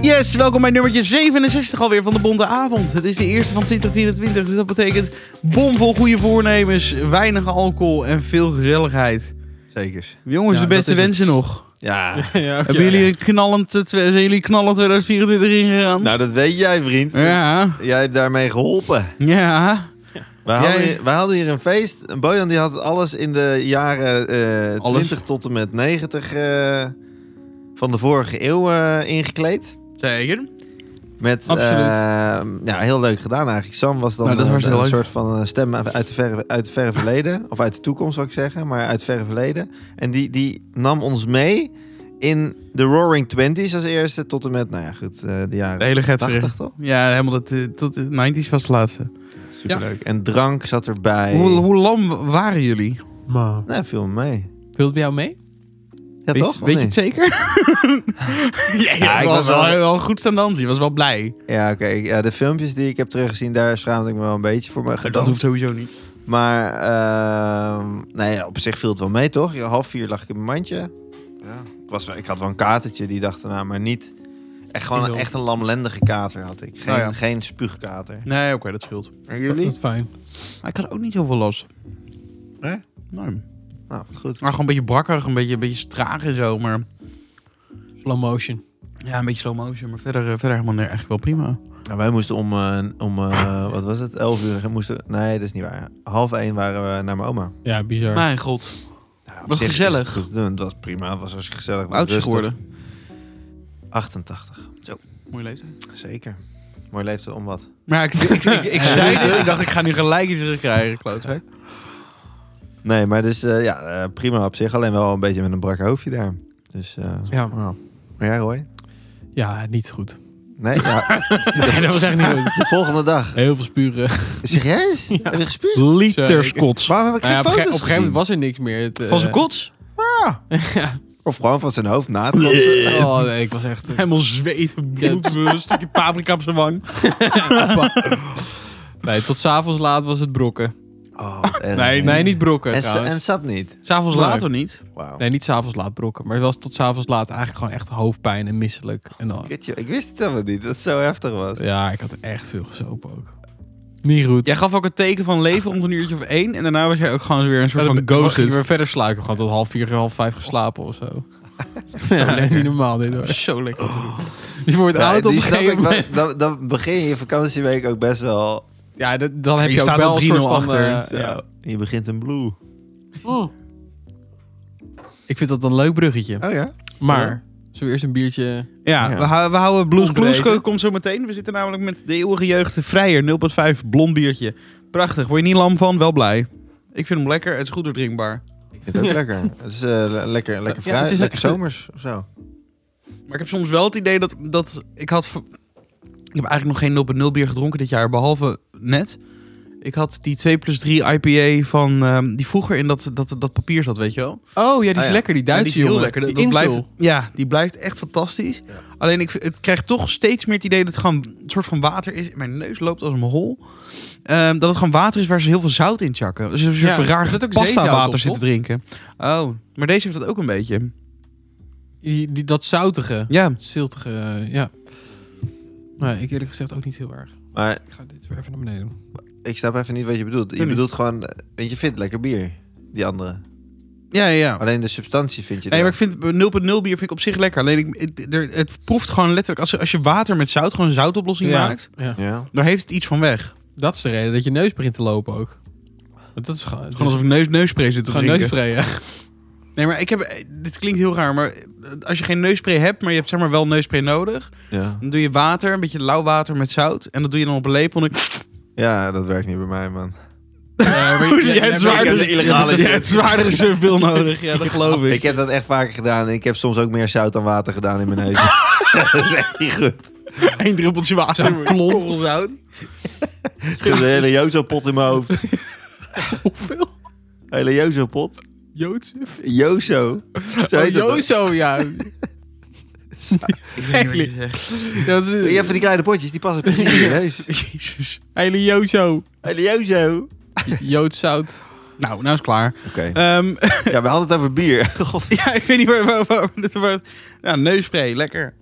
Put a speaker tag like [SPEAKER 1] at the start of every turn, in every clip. [SPEAKER 1] Yes, welkom bij nummertje 67 alweer van de Bonte Avond. Het is de eerste van 2024, dus dat betekent bomvol goede voornemens, weinig alcohol en veel gezelligheid.
[SPEAKER 2] Zeker.
[SPEAKER 1] Jongens,
[SPEAKER 3] Ja,
[SPEAKER 1] de beste
[SPEAKER 3] dat is het.
[SPEAKER 1] wensen nog.
[SPEAKER 2] Ja.
[SPEAKER 3] ja, oké.
[SPEAKER 1] Hebben jullie een knallend, eh, twe- zijn jullie knallend 2024 ingegaan?
[SPEAKER 2] Nou, dat weet jij, vriend.
[SPEAKER 1] ja,
[SPEAKER 2] Jij hebt daarmee geholpen.
[SPEAKER 1] ja.
[SPEAKER 2] Wij hadden,
[SPEAKER 1] Jij-
[SPEAKER 2] hier, wij hadden hier een feest. En Bojan die had alles in de jaren eh,
[SPEAKER 1] Alles.
[SPEAKER 2] 20 tot en met 90 eh, van de vorige eeuw eh, ingekleed.
[SPEAKER 1] Zeker.
[SPEAKER 2] Met,
[SPEAKER 3] Absoluut.
[SPEAKER 2] eh, ja, heel leuk gedaan eigenlijk. Sam was dan
[SPEAKER 1] Nou, dat is
[SPEAKER 2] een-
[SPEAKER 1] hartstikke
[SPEAKER 2] een
[SPEAKER 1] leuk.
[SPEAKER 2] soort van eh, stem uit het verre, uit het verre verleden. Of uit de toekomst zou ik zeggen, maar uit het verre verleden. En die, die nam ons mee in de Roaring Twenties als eerste tot en met, nou ja goed, eh, de jaren
[SPEAKER 1] De hele getver.
[SPEAKER 2] 80 toch?
[SPEAKER 1] Ja, helemaal dat, eh, tot de 90s was de laatste.
[SPEAKER 2] Superleuk. En drank zat erbij.
[SPEAKER 1] Hoe, hoe lam waren jullie?
[SPEAKER 3] Maar,
[SPEAKER 2] Nou, viel me mee.
[SPEAKER 3] wil het bij jou mee?
[SPEAKER 2] Ja,
[SPEAKER 1] weet
[SPEAKER 2] toch?
[SPEAKER 1] je,
[SPEAKER 2] Of
[SPEAKER 1] weet je
[SPEAKER 2] niet?
[SPEAKER 1] het zeker? ja,
[SPEAKER 2] Ja,
[SPEAKER 1] ik was wel, wel goed staan dansen. Je was wel blij.
[SPEAKER 2] Ja, oké. Ja, de filmpjes die ik heb teruggezien, daar schaamde ik me wel een beetje voor. Maar,
[SPEAKER 1] sowieso niet.
[SPEAKER 2] maar ehm, nee, op zich viel het wel mee, toch? Ja, half vier lag ik in mijn mandje. Ja. Ik, was, wel- ik had wel een katertje die dag daarna, maar niet... Echt
[SPEAKER 3] Ik
[SPEAKER 2] gewoon
[SPEAKER 3] ook.
[SPEAKER 2] echt een lamlendige kater had ik. Geen,
[SPEAKER 1] Oh ja.
[SPEAKER 2] geen spuugkater. Nou,
[SPEAKER 1] Nee, oké, dat scheelt.
[SPEAKER 2] En
[SPEAKER 3] Dat is fijn.
[SPEAKER 1] Maar ik had ook niet heel veel last.
[SPEAKER 2] Hè?
[SPEAKER 1] Nee.
[SPEAKER 2] Nou, wat goed.
[SPEAKER 1] Maar gewoon een beetje brakkerig, een beetje, een beetje traag en zo. Maar
[SPEAKER 3] Slow motion.
[SPEAKER 1] ja, een beetje slow motion. Maar verder, eh, verder helemaal nee, eigenlijk wel prima.
[SPEAKER 2] Nou, wij moesten om, eh, om eh, wat was het, elf uur... Moesten, nee, dat is niet waar. Half één waren we naar mijn oma.
[SPEAKER 3] Ja, bizar.
[SPEAKER 1] Mijn god,
[SPEAKER 2] Ja, Nou, op
[SPEAKER 1] Wat
[SPEAKER 2] zich is
[SPEAKER 1] gezellig.
[SPEAKER 2] het goed te doen. Dat was prima. Het was hartstikke gezellig. Het was
[SPEAKER 1] oud is ze
[SPEAKER 2] rustig.
[SPEAKER 1] geworden.
[SPEAKER 2] 88.
[SPEAKER 1] Mooie leeftijd.
[SPEAKER 2] Zeker. Mooi leeftijd om wat.
[SPEAKER 1] Maar ik, ik, ik, ik zei dit, ik dacht ik ga nu gelijk iets terugkrijgen, klootzak.
[SPEAKER 2] Nee, maar dus eh, ja, eh, prima op zich. Alleen wel een beetje met een brak hoofdje daar. Dus eh,
[SPEAKER 3] Ja.
[SPEAKER 2] nou. Maar jij Roy?
[SPEAKER 3] Ja, niet goed.
[SPEAKER 2] Nee, ja.
[SPEAKER 3] Nee, dat was echt niet goed.
[SPEAKER 2] de volgende dag.
[SPEAKER 3] Heel veel spuren. Nou
[SPEAKER 2] Serieus? Heb je gespuugd?
[SPEAKER 3] Liters
[SPEAKER 1] kots.
[SPEAKER 2] Waarom heb ik geen
[SPEAKER 3] Nou ja, op, een
[SPEAKER 2] foto's
[SPEAKER 3] gege-
[SPEAKER 2] gezien?
[SPEAKER 3] op een gegeven moment was er niks meer. Het, eh,
[SPEAKER 1] Van zijn kots?
[SPEAKER 2] Of gewoon van zijn hoofd na het kotsen.
[SPEAKER 3] Oh nee, ik was echt... eh,
[SPEAKER 1] Helemaal zweten, bloed, een stukje paprika op zijn wang.
[SPEAKER 3] Nee, tot s'avonds laat was het brokken.
[SPEAKER 2] Oh, wat erg.
[SPEAKER 1] Nee,
[SPEAKER 3] Nee, niet brokken
[SPEAKER 2] En, sa-
[SPEAKER 3] trouwens.
[SPEAKER 2] en sap niet.
[SPEAKER 1] S'avonds
[SPEAKER 3] Nee.
[SPEAKER 1] later niet.
[SPEAKER 2] Wauw.
[SPEAKER 3] Nee, niet s'avonds laat brokken. Maar het was tot s'avonds laat eigenlijk gewoon echt hoofdpijn en misselijk. En dan,
[SPEAKER 2] Kut, joh. Ik wist het helemaal niet, dat het zo heftig was.
[SPEAKER 3] ja, ik had echt veel gesopen ook. Niet goed.
[SPEAKER 1] Jij gaf ook het teken van leven rond een uurtje of één. En daarna was jij ook gewoon weer een soort
[SPEAKER 3] Ja,
[SPEAKER 1] van
[SPEAKER 3] dan ging ik
[SPEAKER 1] ghosted.
[SPEAKER 3] weer verder sluipen. Gewoon tot half vier, half vijf geslapen of zo. ja, echt niet normaal dit hoor.
[SPEAKER 1] Zo lekker. om te doen.
[SPEAKER 3] Je wordt
[SPEAKER 2] Ja,
[SPEAKER 3] oud op een
[SPEAKER 2] die snap
[SPEAKER 3] gegeven
[SPEAKER 2] ik wel.
[SPEAKER 3] moment.
[SPEAKER 2] Dan, dan begin je vakantieweek ook best wel
[SPEAKER 3] Ja, dat- dan heb
[SPEAKER 1] Je
[SPEAKER 3] je, ook
[SPEAKER 1] staat
[SPEAKER 3] wel
[SPEAKER 1] al
[SPEAKER 3] een soort
[SPEAKER 1] 3-0
[SPEAKER 3] van...
[SPEAKER 1] achter.
[SPEAKER 3] eh, ja.
[SPEAKER 2] Je Oh, begint een blue.
[SPEAKER 3] Ik vind dat een leuk bruggetje.
[SPEAKER 2] Oh ja?
[SPEAKER 3] Maar,
[SPEAKER 2] Ja.
[SPEAKER 3] zullen we eerst een biertje...
[SPEAKER 1] Ja,
[SPEAKER 2] Ja.
[SPEAKER 1] We, hou- we houden Blues
[SPEAKER 3] Ontbreken.
[SPEAKER 1] Clues Co- komt zo meteen. We zitten namelijk met de eeuwige jeugd de Vrijer 0.5 blond biertje. Prachtig. Word je niet lam van? Wel blij. Ik vind hem lekker. Het is goed doordrinkbaar.
[SPEAKER 2] Ik vind het ook lekker. Het is eh, le- lekker, lekker
[SPEAKER 3] Ja,
[SPEAKER 2] vrij,
[SPEAKER 3] het is
[SPEAKER 2] lekker
[SPEAKER 3] echt-
[SPEAKER 2] zomers of zo.
[SPEAKER 1] Maar ik heb soms wel het idee dat, dat ik had... v- Ik heb eigenlijk nog geen 0.0 bier gedronken dit jaar, behalve net. Ik had die 2 plus 3 IPA van... ehm, die vroeger in dat, dat, dat papier zat, weet je wel?
[SPEAKER 3] Oh ja, die is
[SPEAKER 2] Ah, ja.
[SPEAKER 3] lekker. Die
[SPEAKER 1] Ja, die
[SPEAKER 3] Duitse
[SPEAKER 1] is heel
[SPEAKER 3] jongen.
[SPEAKER 1] lekker. Dat,
[SPEAKER 3] Die
[SPEAKER 1] dat
[SPEAKER 3] Insel.
[SPEAKER 1] blijft, ja, die blijft echt fantastisch.
[SPEAKER 2] Ja.
[SPEAKER 1] Alleen ik, v- het krijgt toch steeds meer het idee dat het gewoon een soort van water is. Mijn neus loopt als een hol. Ehm, dat het gewoon water is waar ze heel veel zout in chakken. Dus een soort
[SPEAKER 3] Ja,
[SPEAKER 1] van
[SPEAKER 3] er
[SPEAKER 1] raar
[SPEAKER 3] zit ook
[SPEAKER 1] pasta
[SPEAKER 3] zeezout op,
[SPEAKER 1] water zitten
[SPEAKER 3] toch?
[SPEAKER 1] drinken. Oh, maar deze heeft dat ook een beetje.
[SPEAKER 3] Die, die- dat zoutige.
[SPEAKER 1] Ja,
[SPEAKER 3] Het ziltige, eh, ja. Nee, ik eerlijk gezegd ook niet heel erg.
[SPEAKER 2] Maar
[SPEAKER 3] Ik ga dit weer even naar beneden doen.
[SPEAKER 2] ik snap even niet wat je bedoelt. Je
[SPEAKER 1] Doe niet.
[SPEAKER 2] bedoelt gewoon, eh, want je vindt lekker bier, die andere.
[SPEAKER 1] ja, ja, ja.
[SPEAKER 2] Alleen de substantie vind je
[SPEAKER 1] Nee, maar
[SPEAKER 2] dan.
[SPEAKER 1] ik vind eh, 0.0 bier vind ik op zich lekker. Alleen ik, het, er- het proeft gewoon letterlijk... Als, je- als je water met zout gewoon een zoutoplossing
[SPEAKER 3] Ja.
[SPEAKER 1] maakt...
[SPEAKER 3] Ja.
[SPEAKER 2] Ja.
[SPEAKER 1] daar heeft het iets van weg.
[SPEAKER 3] Dat is de reden dat je neus begint te lopen ook. Want dat is gewoon... het
[SPEAKER 1] Gewoon
[SPEAKER 3] is
[SPEAKER 1] alsof ik neus, neuspray zit te
[SPEAKER 3] gewoon
[SPEAKER 1] drinken.
[SPEAKER 3] neussprayen.
[SPEAKER 1] Nee, maar ik heb. eh, Dit klinkt heel raar, maar eh, als je geen neuspray hebt, maar je hebt zeg maar wel neuspray nodig,
[SPEAKER 2] Ja.
[SPEAKER 1] dan doe je water, een beetje lauw water met zout, en dat doe je dan op een lepel. En dan...
[SPEAKER 2] ja, dat werkt niet bij mij, man.
[SPEAKER 3] Ja, maar-
[SPEAKER 1] Hoe zie jij
[SPEAKER 3] ja,
[SPEAKER 1] het
[SPEAKER 3] maar-
[SPEAKER 1] zwaarder?
[SPEAKER 3] ja,
[SPEAKER 2] illegale
[SPEAKER 1] Je hebt zwaardere surfbil nodig, ja, dat geloof ik.
[SPEAKER 2] Ik heb dat echt vaker gedaan en ik heb soms ook meer zout dan water gedaan in mijn neus. dat is echt niet goed.
[SPEAKER 1] Eén druppeltje water, een korrel zout.
[SPEAKER 2] Ik heb een hele Jozo-pot in mijn hoofd.
[SPEAKER 3] Hoeveel?
[SPEAKER 2] Hele Jozo-pot.
[SPEAKER 3] Jozef?
[SPEAKER 2] Jozo. Zo
[SPEAKER 3] Oh,
[SPEAKER 2] heet dat.
[SPEAKER 3] Jozo, ja.
[SPEAKER 1] Ik
[SPEAKER 3] weet niet wat je dat
[SPEAKER 2] Je
[SPEAKER 3] is,
[SPEAKER 2] hebt van die kleine potjes, die passen precies in je neus.
[SPEAKER 1] Jezus.
[SPEAKER 3] Hele Jozo.
[SPEAKER 2] Hele Jozo.
[SPEAKER 3] Joodzout.
[SPEAKER 1] Nou, nou is het klaar.
[SPEAKER 2] Oké.
[SPEAKER 1] Ehm,
[SPEAKER 2] Ja, we hadden het over bier. God.
[SPEAKER 1] ja, ik weet niet waar, waar, waar, waar- waar- Ja, neuspray, lekker.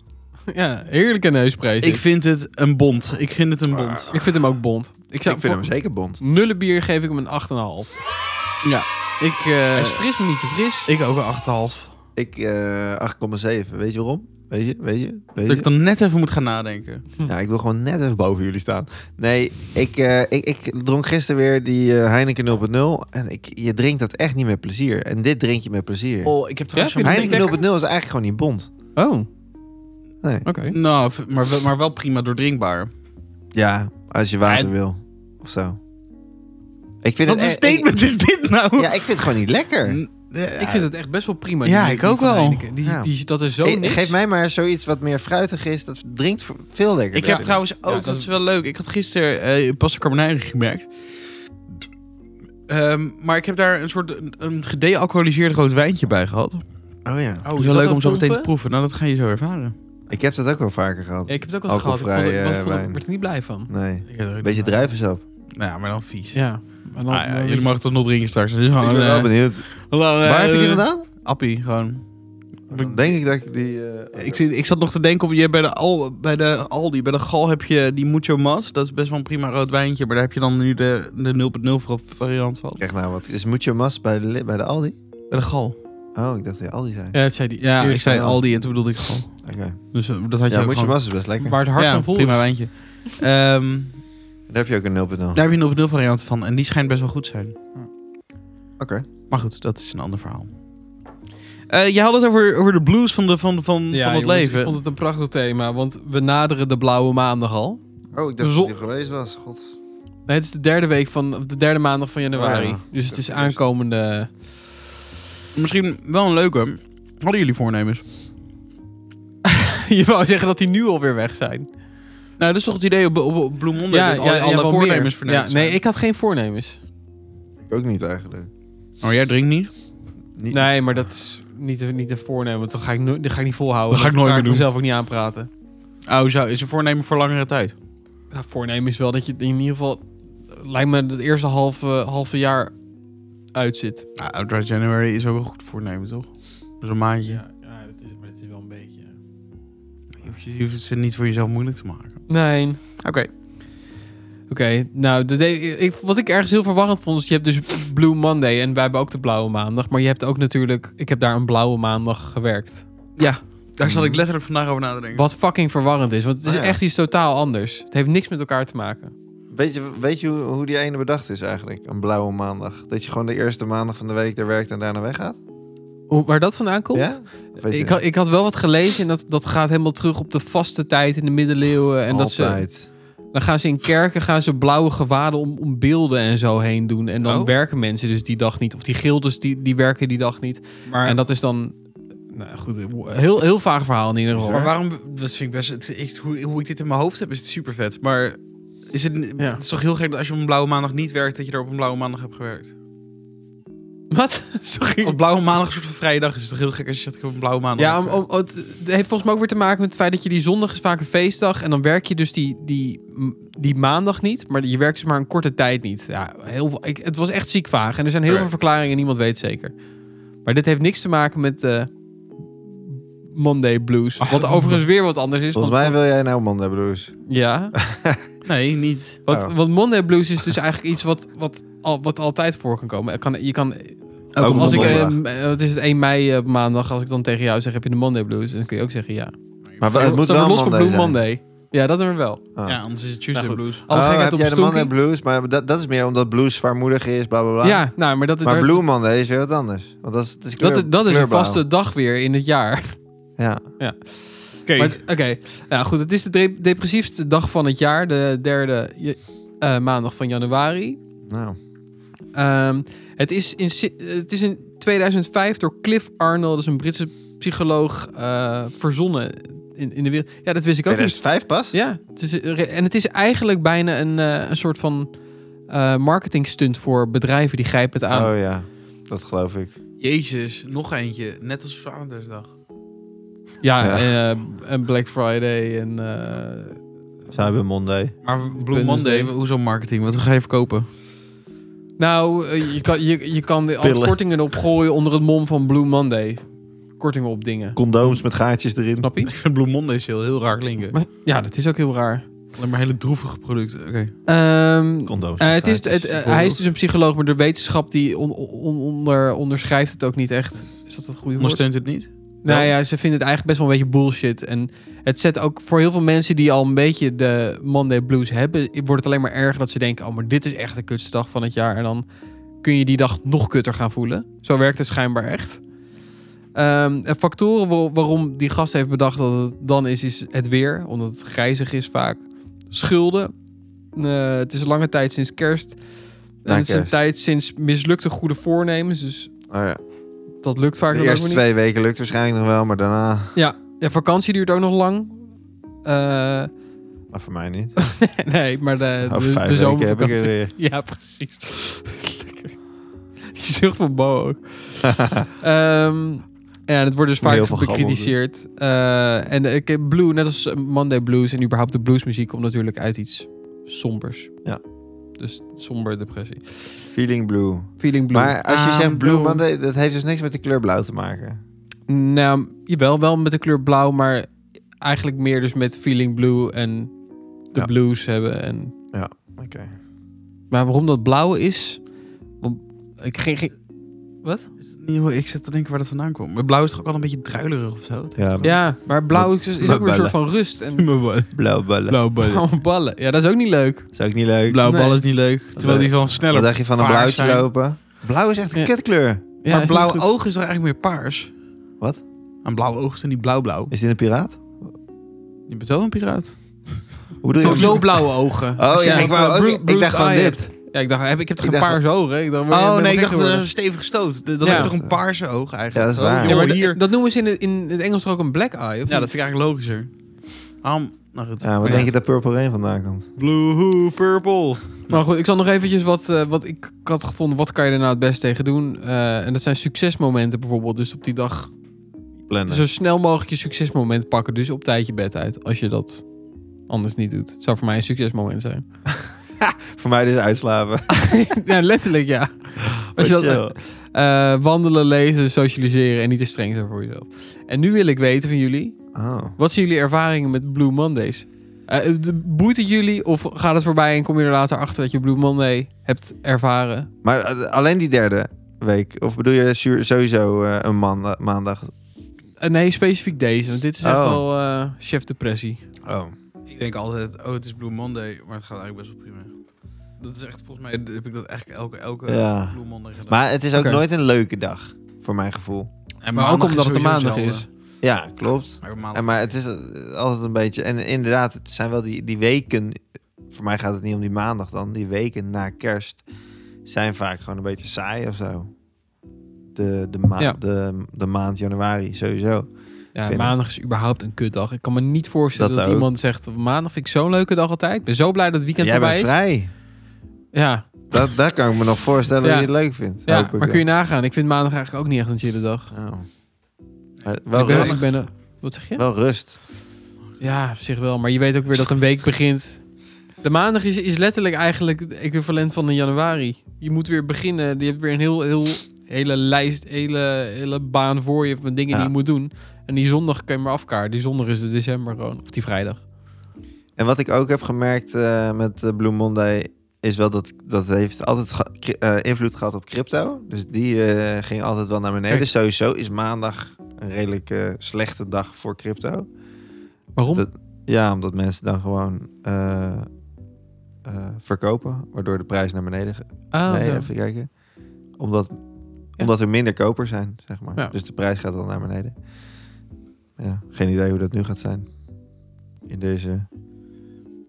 [SPEAKER 3] Ja, heerlijke neusprijs.
[SPEAKER 1] Ik vind het een bond. Ik vind het een bond.
[SPEAKER 3] Ik vind hem ook bond. Ik zou
[SPEAKER 2] ik vind
[SPEAKER 3] voor
[SPEAKER 2] hem zeker bond.
[SPEAKER 3] nullenbier geef ik hem een 8,5.
[SPEAKER 1] Ja. Ik, eh,
[SPEAKER 3] Hij is fris, maar niet te fris.
[SPEAKER 1] ik ook een 8,5.
[SPEAKER 2] Ik eh 8,7. Weet je waarom? Weet je? Weet je? Weet
[SPEAKER 1] Dat ik
[SPEAKER 2] je?
[SPEAKER 1] dan net even moet gaan nadenken.
[SPEAKER 2] Ja, ik wil gewoon net even boven jullie staan. Nee, ik, eh, ik, ik dronk gisteren weer die eh, Heineken 0.0. En ik, je drinkt dat echt niet met plezier. En dit drink je met plezier.
[SPEAKER 1] Oh, ik heb
[SPEAKER 3] trouwens zo'n- vind je
[SPEAKER 2] Heineken 0.0
[SPEAKER 3] lekker?
[SPEAKER 2] is eigenlijk gewoon niet bond.
[SPEAKER 3] Oh, oké.
[SPEAKER 2] Nee.
[SPEAKER 1] Nou, v- maar, wel- maar wel prima doordrinkbaar.
[SPEAKER 2] Ja, als je water
[SPEAKER 1] En-
[SPEAKER 2] wil. Of zo. Ik vind
[SPEAKER 1] Wat
[SPEAKER 2] het
[SPEAKER 1] een
[SPEAKER 2] e-
[SPEAKER 1] statement is dit nou?
[SPEAKER 2] Ik, ja, ik vind het gewoon niet lekker.
[SPEAKER 3] Ik vind het echt best wel prima.
[SPEAKER 1] Ja,
[SPEAKER 3] die-
[SPEAKER 1] ik
[SPEAKER 3] die
[SPEAKER 1] ook
[SPEAKER 3] van
[SPEAKER 1] wel.
[SPEAKER 3] Heineken. Die,
[SPEAKER 2] Ja.
[SPEAKER 3] die, dat is zo
[SPEAKER 2] Eh,
[SPEAKER 3] niks. Oh,
[SPEAKER 2] Geef mij maar zoiets wat meer fruitig is. Dat drinkt v- veel lekker.
[SPEAKER 1] Ik heb
[SPEAKER 3] Ja.
[SPEAKER 1] trouwens ook,
[SPEAKER 3] dat
[SPEAKER 1] dat
[SPEAKER 3] is-
[SPEAKER 1] is wel leuk. Ik had gisteren eh pasta carbonara gemerkt. Ehm, maar ik heb daar een soort een, een gedealcoholiseerd rood wijntje bij gehad. Dat
[SPEAKER 2] Oh ja.
[SPEAKER 3] Oh,
[SPEAKER 1] is wel leuk om zo meteen te proeven. Nou, dat ga je zo ervaren.
[SPEAKER 2] Ik heb dat ook wel vaker gehad.
[SPEAKER 3] Ja, ik heb het ook wel eens gehad. Ik, vond,
[SPEAKER 2] Alcoholvrij,
[SPEAKER 3] het- ik, vond,
[SPEAKER 2] eh,
[SPEAKER 3] het-
[SPEAKER 2] wijn.
[SPEAKER 3] ik werd er niet blij van.
[SPEAKER 2] Nee.
[SPEAKER 1] Een
[SPEAKER 2] Beetje
[SPEAKER 3] Oh,
[SPEAKER 2] druivensap.
[SPEAKER 1] Nou, ja, maar dan vies.
[SPEAKER 3] Ja. Maar dan,
[SPEAKER 1] Ah ja,
[SPEAKER 3] eh,
[SPEAKER 1] jullie mogen toch nog drinken straks. Dus
[SPEAKER 2] Ik
[SPEAKER 1] gewoon,
[SPEAKER 2] ben wel
[SPEAKER 1] eh,
[SPEAKER 2] benieuwd.
[SPEAKER 1] gewoon, eh,
[SPEAKER 2] Waar heb je die vandaan?
[SPEAKER 1] Appie, gewoon.
[SPEAKER 2] Dan denk ik dat ik die... eh,
[SPEAKER 1] Ik, zit- ik zat nog te denken, of je bij de, Al, bij de Aldi, bij de Gal heb je die Mucho Mas. Dat is best wel een prima rood wijntje. Maar daar heb je dan nu de, de 0.0 variant van.
[SPEAKER 2] Krijg nou wat. Is mucho mas bij de, li- bij de Aldi?
[SPEAKER 1] Bij de Gal.
[SPEAKER 2] Oh, ik dacht dat je Aldi zei.
[SPEAKER 3] Ja, dat zei die.
[SPEAKER 1] Ja, ik
[SPEAKER 3] eerste
[SPEAKER 1] zei
[SPEAKER 2] wel.
[SPEAKER 1] Aldi en toen bedoelde ik Gal.
[SPEAKER 2] Oké.
[SPEAKER 1] Dus eh, dat had je
[SPEAKER 2] Ja,
[SPEAKER 1] ook
[SPEAKER 2] mucho
[SPEAKER 1] gewoon.
[SPEAKER 2] mas is best lekker.
[SPEAKER 3] Waar het hart
[SPEAKER 1] ja,
[SPEAKER 3] van vol
[SPEAKER 1] prima
[SPEAKER 3] is.
[SPEAKER 1] wijntje. Ehm,
[SPEAKER 2] Daar heb je ook een 0.0.
[SPEAKER 1] daar heb je een opnieuw variant van. En die schijnt best wel goed te zijn.
[SPEAKER 2] Oké.
[SPEAKER 1] Maar goed, dat is een ander verhaal. Eh je had het over, over de blues van, de, van, van,
[SPEAKER 3] Ja,
[SPEAKER 1] van het
[SPEAKER 3] jongens,
[SPEAKER 1] leven.
[SPEAKER 3] Ik vond het een prachtig thema, want we naderen de blauwe maandag al.
[SPEAKER 2] Oh, ik
[SPEAKER 3] De
[SPEAKER 2] dacht
[SPEAKER 3] zon-
[SPEAKER 2] dat die geweest was. God.
[SPEAKER 3] Nee, het is de derde week van of de derde maandag van januari.
[SPEAKER 2] Oh ja.
[SPEAKER 3] Dus het is
[SPEAKER 2] Dat is
[SPEAKER 3] aankomende.
[SPEAKER 1] Misschien wel een leuke. Hadden jullie voornemens?
[SPEAKER 3] Je wou zeggen dat die nu alweer weg zijn.
[SPEAKER 1] Nou, dat is toch het idee op, op, op Blue Monday dat alle, alle
[SPEAKER 3] wel meer.
[SPEAKER 1] voornemens vernemen
[SPEAKER 3] Ja, nee, ik had geen voornemens.
[SPEAKER 2] Ik ook niet eigenlijk.
[SPEAKER 1] Oh, jij drinkt niet?
[SPEAKER 2] Niet...
[SPEAKER 3] Nee, maar dat is niet, een- niet een voornemen, want dat ga ik, no dat ga ik niet volhouden.
[SPEAKER 1] Dat ga ik nooit
[SPEAKER 3] kan
[SPEAKER 1] meer doen.
[SPEAKER 3] mezelf ook niet aanpraten.
[SPEAKER 1] Oh, zou, is een voornemen voor langere tijd?
[SPEAKER 3] Ja, voornemen is wel dat je in ieder geval, lijkt me, het eerste halve, halve jaar uitzit.
[SPEAKER 1] Nou, Dry January is ook een goed voornemen, toch? Dus een maandje.
[SPEAKER 3] ja dat, is, maar dat is wel een beetje...
[SPEAKER 1] Je hoeft- Je hoeft het niet voor jezelf moeilijk te maken.
[SPEAKER 3] Nee.
[SPEAKER 1] Oké.
[SPEAKER 3] Oké, nou, de, de- ik, wat ik ergens heel verwarrend vond, is je hebt dus Blue Monday en wij hebben ook de Blauwe Maandag. Maar je hebt ook natuurlijk, ik heb daar een Blauwe Maandag gewerkt.
[SPEAKER 1] Ja, daar zat ik letterlijk vandaag over na te denken.
[SPEAKER 3] Wat fucking verwarrend is, want het is
[SPEAKER 2] Ah, ja.
[SPEAKER 3] echt iets totaal anders. Het heeft niks met elkaar te maken.
[SPEAKER 2] Weet je, weet je hoe, hoe die ene bedacht is eigenlijk? Een blauwe maandag. Dat je gewoon de eerste maandag van de week daar werkt en daarna weggaat?
[SPEAKER 3] Hoe, waar dat vandaan komt?
[SPEAKER 2] Ja? Weet je,
[SPEAKER 3] ik, had, ik had wel wat gelezen en dat, dat gaat helemaal terug op de vaste tijd in de middeleeuwen. En dat eh, ze,
[SPEAKER 2] altijd.
[SPEAKER 3] dan gaan ze in kerken gaan ze blauwe gewaden om, om beelden en zo heen doen. En dan
[SPEAKER 1] Oh.
[SPEAKER 3] werken mensen dus die dag niet. Of die gildes die, die werken die dag niet.
[SPEAKER 1] Maar,
[SPEAKER 3] En dat is dan... Nou goed, heel, heel vaag verhaal in ieder geval.
[SPEAKER 1] maar waarom... Dat vind ik best... Het, echt, hoe, hoe ik dit in mijn hoofd heb, is het super vet. Maar is het,
[SPEAKER 3] Ja.
[SPEAKER 1] het is toch heel gek dat als je op een blauwe maandag niet werkt... dat je er op een blauwe maandag hebt gewerkt?
[SPEAKER 3] Wat? Sorry.
[SPEAKER 1] Op blauwe maandag een soort van vrije dag is het toch heel gek als je zegt ik heb een blauwe maandag.
[SPEAKER 3] ja, om, om, om- het het heeft volgens mij ook weer te maken met het feit dat je die zondag is vaak een feestdag. En dan werk je dus die, die, m- die maandag niet. Maar je werkt dus maar een korte tijd niet. Ja, heel, veel- ik, het was echt ziek vaag. En er zijn heel
[SPEAKER 1] Right.
[SPEAKER 3] veel verklaringen, niemand weet zeker. Maar dit heeft niks te maken met eh, Monday Blues.
[SPEAKER 1] Oh.
[SPEAKER 3] Wat overigens weer wat anders is.
[SPEAKER 2] Volgens
[SPEAKER 3] want-
[SPEAKER 2] mij wil jij nou Monday Blues.
[SPEAKER 3] Ja.
[SPEAKER 1] Nee, niet.
[SPEAKER 3] Want,
[SPEAKER 2] Oh.
[SPEAKER 3] want Monday Blues is dus eigenlijk iets wat, wat, al, wat altijd voor kan komen. Er Kan, je kan
[SPEAKER 2] Ook
[SPEAKER 3] als ik,
[SPEAKER 2] nog
[SPEAKER 3] eh,
[SPEAKER 2] donderdag.
[SPEAKER 3] m- eh, wat is het 1 mei eh, maandag, als ik dan tegen jou zeg, heb je de Monday Blues? Dan kun je ook zeggen ja.
[SPEAKER 2] Maar wel- het moet
[SPEAKER 3] Staan we
[SPEAKER 2] wel
[SPEAKER 3] los
[SPEAKER 2] Monday
[SPEAKER 3] van Blue
[SPEAKER 2] zijn.
[SPEAKER 3] Monday. Ja, dat hebben we wel.
[SPEAKER 2] Oh.
[SPEAKER 1] Ja, anders is het Tuesday
[SPEAKER 3] Nou, goed.
[SPEAKER 1] Blues.
[SPEAKER 3] Alle
[SPEAKER 2] Oh,
[SPEAKER 3] gekheid
[SPEAKER 2] heb
[SPEAKER 3] op
[SPEAKER 2] jij de Monday
[SPEAKER 3] stonkie.
[SPEAKER 2] Blues? Maar dat, dat is meer omdat blues zwaarmoedig is, bla bla bla.
[SPEAKER 3] Ja, nou, maar dat,
[SPEAKER 2] maar
[SPEAKER 3] dat-
[SPEAKER 2] Blue Monday is weer wat anders. Want dat is, het is kleur,
[SPEAKER 3] dat, dat is een
[SPEAKER 2] kleurblauw.
[SPEAKER 3] vaste dag weer in het jaar.
[SPEAKER 2] Ja.
[SPEAKER 1] Oké.
[SPEAKER 3] Maar Oké, nou goed, het is de dep- depressiefste dag van het jaar, de derde je- eh, maandag van januari.
[SPEAKER 2] Nou,
[SPEAKER 3] Ehm, het, is in, si- het is in 2005 door Cliff Arnold, dat is een Britse psycholoog, eh, verzonnen in, in de wereld. Ja, dat wist ik ook niet.
[SPEAKER 2] 2005 pas?
[SPEAKER 3] Ja, het is, en het is eigenlijk bijna een, eh, een soort van eh marketing stunt voor bedrijven die grijpen het aan.
[SPEAKER 2] Oh ja, dat geloof ik.
[SPEAKER 1] Jezus, nog eentje. Net als Vadersdag.
[SPEAKER 3] Ja,
[SPEAKER 2] Ja.
[SPEAKER 3] En, eh, en Black Friday en... eh,
[SPEAKER 2] Cyber Monday.
[SPEAKER 1] Maar Blue
[SPEAKER 3] Wednesday.
[SPEAKER 1] Monday, hoezo marketing? Wat ga je verkopen?
[SPEAKER 3] nou, eh, je kan, je, je kan de alle
[SPEAKER 2] Pillen.
[SPEAKER 3] kortingen erop gooien onder het mom van Blue Monday. kortingen op dingen.
[SPEAKER 2] Condooms met gaatjes erin.
[SPEAKER 3] Snap je?
[SPEAKER 1] Ik vind Blue Monday heel, heel raar klinken.
[SPEAKER 3] Maar- Ja, dat is ook heel raar.
[SPEAKER 1] Alleen maar hele droevige producten. Oké.
[SPEAKER 3] Ehm,
[SPEAKER 2] Condooms.
[SPEAKER 3] eh,
[SPEAKER 2] met
[SPEAKER 3] het is, het,
[SPEAKER 2] gaatjes.
[SPEAKER 3] eh, hij is dus een psycholoog, maar de wetenschap die on- on- onder, onderschrijft het ook niet echt. Is dat het goede woord?
[SPEAKER 1] Ondersteunt het niet?
[SPEAKER 3] Nou ja, ze vinden het eigenlijk best wel een beetje bullshit. En het zet ook voor heel veel mensen die al een beetje de Monday Blues hebben, wordt het alleen maar erger dat ze denken: oh, maar dit is echt de kutste dag van het jaar. En dan kun je die dag nog kutter gaan voelen. Zo werkt het schijnbaar echt. Ehm, en factoren wa- waarom die gast heeft bedacht dat het dan is, is het weer, omdat het grijzig is vaak. Schulden. Eh, het is een lange tijd sinds kerst. En
[SPEAKER 2] Na
[SPEAKER 3] het is een
[SPEAKER 2] kerst.
[SPEAKER 3] tijd sinds mislukte goede voornemens. Dus
[SPEAKER 2] Oh ja.
[SPEAKER 3] dat lukt vaak
[SPEAKER 2] De
[SPEAKER 3] dan ook
[SPEAKER 2] eerste
[SPEAKER 3] weer niet.
[SPEAKER 2] twee weken lukt waarschijnlijk nog wel, maar daarna...
[SPEAKER 3] Ja, de vakantie duurt ook nog lang. Eh,
[SPEAKER 2] Ah, voor mij niet.
[SPEAKER 3] nee, maar de, Eh, de,
[SPEAKER 2] Over Oh, Nou, vijf
[SPEAKER 3] de
[SPEAKER 2] weken heb ik
[SPEAKER 3] zomervakantie.
[SPEAKER 2] er weer.
[SPEAKER 3] Ja, precies. Lekker. Die zucht van Bo ook. Ehm, ja, en het wordt dus
[SPEAKER 2] Heel
[SPEAKER 3] vaak
[SPEAKER 2] veel gammel
[SPEAKER 3] bekritiseerd. Eh, en eh, ik heb Blue, net als Monday Blues en überhaupt de bluesmuziek, komt natuurlijk uit iets sombers.
[SPEAKER 2] Ja.
[SPEAKER 3] Dus somber depressie.
[SPEAKER 2] Feeling blue.
[SPEAKER 3] Feeling Blue.
[SPEAKER 2] Maar als je
[SPEAKER 1] I'm
[SPEAKER 2] zegt blue
[SPEAKER 1] blue.
[SPEAKER 2] Monday, dat heeft dus niks met de kleur blauw te maken.
[SPEAKER 3] Nou, jawel, wel met de kleur blauw, maar eigenlijk meer dus met Feeling Blue en de
[SPEAKER 2] Ja.
[SPEAKER 3] blues hebben en
[SPEAKER 2] Oké.
[SPEAKER 3] Maar waarom dat blauwe is? Want ik ging, ging-
[SPEAKER 1] Ik zit te denken waar dat vandaan komt. Maar blauw is toch ook wel een beetje druilerig of zo?
[SPEAKER 2] Ja.
[SPEAKER 3] ja, maar blauw is, is ook weer een soort
[SPEAKER 2] Ballen.
[SPEAKER 3] van rust en
[SPEAKER 1] Blauw
[SPEAKER 2] Blauw ballen.
[SPEAKER 1] ballen.
[SPEAKER 3] blauwe ballen. Ja, dat is ook niet leuk.
[SPEAKER 2] Is ook niet leuk.
[SPEAKER 1] Blauw
[SPEAKER 3] Nee.
[SPEAKER 1] ballen is niet leuk. Terwijl die van
[SPEAKER 2] Wat
[SPEAKER 1] sneller.
[SPEAKER 2] dacht je van een
[SPEAKER 1] paars
[SPEAKER 2] blauwtje
[SPEAKER 1] zijn.
[SPEAKER 2] lopen? Blauw is echt een
[SPEAKER 3] Ja.
[SPEAKER 2] kutkleur.
[SPEAKER 3] Ja,
[SPEAKER 1] maar
[SPEAKER 3] dat is niet
[SPEAKER 1] blauw
[SPEAKER 3] goed.
[SPEAKER 1] oog is toch eigenlijk meer paars?
[SPEAKER 2] Wat?
[SPEAKER 1] Een blauw oog is dan niet blauw-blauw. Oh,
[SPEAKER 2] Is dit een piraat?
[SPEAKER 1] Je bent wel een piraat.
[SPEAKER 2] Hoe bedoel je?
[SPEAKER 3] Oh, Zo blauwe ogen.
[SPEAKER 2] Oh
[SPEAKER 3] Als je
[SPEAKER 2] ja,
[SPEAKER 3] dat,
[SPEAKER 2] ik, wou
[SPEAKER 3] eh,
[SPEAKER 2] ook-
[SPEAKER 3] Bru-
[SPEAKER 2] ik
[SPEAKER 3] Bruce
[SPEAKER 2] dacht gewoon
[SPEAKER 3] Eye
[SPEAKER 2] dit.
[SPEAKER 3] hebt. Ja, ik dacht, heb, ik heb toch
[SPEAKER 2] Ik
[SPEAKER 3] geen
[SPEAKER 2] dacht-
[SPEAKER 3] paarse ogen? Ik dacht, word je
[SPEAKER 1] Oh
[SPEAKER 3] helemaal
[SPEAKER 1] nee, ik
[SPEAKER 3] gek
[SPEAKER 1] dacht dat
[SPEAKER 3] geworden?
[SPEAKER 1] een stevige stoot. Dan
[SPEAKER 3] Ja.
[SPEAKER 1] heb je toch een paarse oog eigenlijk.
[SPEAKER 2] Ja, dat is
[SPEAKER 1] Oh,
[SPEAKER 2] waar.
[SPEAKER 1] joh,
[SPEAKER 3] Ja, maar
[SPEAKER 1] hier.
[SPEAKER 3] dat, dat noemen ze in het, in het Engels toch ook een black eye? Of
[SPEAKER 1] Ja, dat
[SPEAKER 3] niet?
[SPEAKER 1] vind ik eigenlijk logischer. Waarom? Nou goed.
[SPEAKER 2] Ja, wat
[SPEAKER 1] Ja.
[SPEAKER 2] denk je dat Purple Rain vandaan komt?
[SPEAKER 1] Blue, purple.
[SPEAKER 3] Maar goed, ik zal nog eventjes wat, eh, wat ik had gevonden. Wat kan je er nou het best tegen doen? Eh, en dat zijn succesmomenten bijvoorbeeld. Dus op die dag
[SPEAKER 2] Plannen.
[SPEAKER 3] Zo snel mogelijk je succesmoment pakken. Dus op tijd je bed uit. Als je dat anders niet doet. Zou voor mij een succesmoment zijn.
[SPEAKER 2] Voor mij dus uitslapen.
[SPEAKER 3] ja, letterlijk ja. Als je dat,
[SPEAKER 2] Chill.
[SPEAKER 3] eh, wandelen, lezen, socialiseren en niet te streng zijn voor jezelf. En nu wil ik weten van jullie.
[SPEAKER 2] Oh.
[SPEAKER 3] Wat zijn jullie ervaringen met Blue Mondays? Eh, de- boeit het jullie of gaat het voorbij en kom je er later achter dat je Blue Monday hebt ervaren?
[SPEAKER 2] Maar eh, alleen die derde week? Of bedoel je su- sowieso eh, een man- maandag?
[SPEAKER 3] Eh, nee, specifiek deze, want dit is echt
[SPEAKER 2] Oh.
[SPEAKER 3] wel eh, chef depressie.
[SPEAKER 2] Oh.
[SPEAKER 1] Ik denk altijd, oh het is Blue Monday, maar het gaat eigenlijk best wel prima. Dat is echt, volgens mij heb ik dat eigenlijk elke, elke
[SPEAKER 2] Ja.
[SPEAKER 1] Blue Monday gedaan.
[SPEAKER 2] Maar het is ook
[SPEAKER 3] Oké.
[SPEAKER 2] nooit een leuke dag, voor mijn gevoel.
[SPEAKER 1] en
[SPEAKER 3] Maar ook
[SPEAKER 1] maandag
[SPEAKER 3] omdat het een
[SPEAKER 1] sowieso
[SPEAKER 3] maandag
[SPEAKER 1] hetzelfde.
[SPEAKER 3] is.
[SPEAKER 2] Ja, klopt.
[SPEAKER 1] Maar, maandag-
[SPEAKER 2] En, maar het is eh, altijd een beetje... En inderdaad, het zijn wel die, die weken... Voor mij gaat het niet om die maandag dan. Die weken na kerst zijn vaak gewoon een beetje saai of zo. De, de, ma
[SPEAKER 3] Ja.
[SPEAKER 2] de, de maand januari sowieso.
[SPEAKER 3] Ja,
[SPEAKER 2] Vinden.
[SPEAKER 3] maandag is überhaupt een kutdag. Ik kan me niet voorstellen dat,
[SPEAKER 2] Dat ook.
[SPEAKER 3] iemand zegt... maandag vind ik zo'n leuke dag altijd. Ik ben zo blij dat het weekend
[SPEAKER 2] Jij
[SPEAKER 3] voorbij
[SPEAKER 2] bent
[SPEAKER 3] is.
[SPEAKER 2] vrij.
[SPEAKER 3] Ja,
[SPEAKER 2] Dat, dat kan ik me nog voorstellen
[SPEAKER 3] Ja.
[SPEAKER 2] dat je het leuk vindt.
[SPEAKER 3] ja
[SPEAKER 2] Hoop ik
[SPEAKER 3] maar kun je nagaan. Ik vind maandag eigenlijk ook niet echt een chille dag.
[SPEAKER 2] dan. Oh. Eh, Wel,
[SPEAKER 3] ik ben,
[SPEAKER 2] rust.
[SPEAKER 3] ik ben een- Wat zeg je?
[SPEAKER 2] wel rust.
[SPEAKER 3] Ja, op zich wel. Maar je weet ook weer dat een week begint. De maandag is, is letterlijk eigenlijk het equivalent van de januari. Je moet weer beginnen. Je hebt weer een heel, heel, hele lijst, hele, hele baan voor je van dingen
[SPEAKER 2] Ja.
[SPEAKER 3] die je moet doen. En die zondag kan je maar afkaarten. Die zondag is de december gewoon. Of die vrijdag.
[SPEAKER 2] En wat ik ook heb gemerkt eh, met eh, Blue Monday is wel dat dat heeft altijd ge- cri- eh, invloed gehad op crypto. Dus die eh, ging altijd wel naar beneden.
[SPEAKER 3] Kijk.
[SPEAKER 2] Dus sowieso is maandag een redelijk eh, slechte dag voor crypto.
[SPEAKER 3] Waarom?
[SPEAKER 2] Dat- Ja, omdat mensen dan gewoon eh, eh, verkopen, waardoor de prijs naar beneden gaat.
[SPEAKER 3] Ah,
[SPEAKER 2] nee,
[SPEAKER 3] zo.
[SPEAKER 2] even kijken. Omdat, omdat er minder kopers zijn, zeg maar.
[SPEAKER 3] Ja.
[SPEAKER 2] Dus de prijs gaat dan naar beneden. Ja, geen idee hoe dat nu gaat zijn. In deze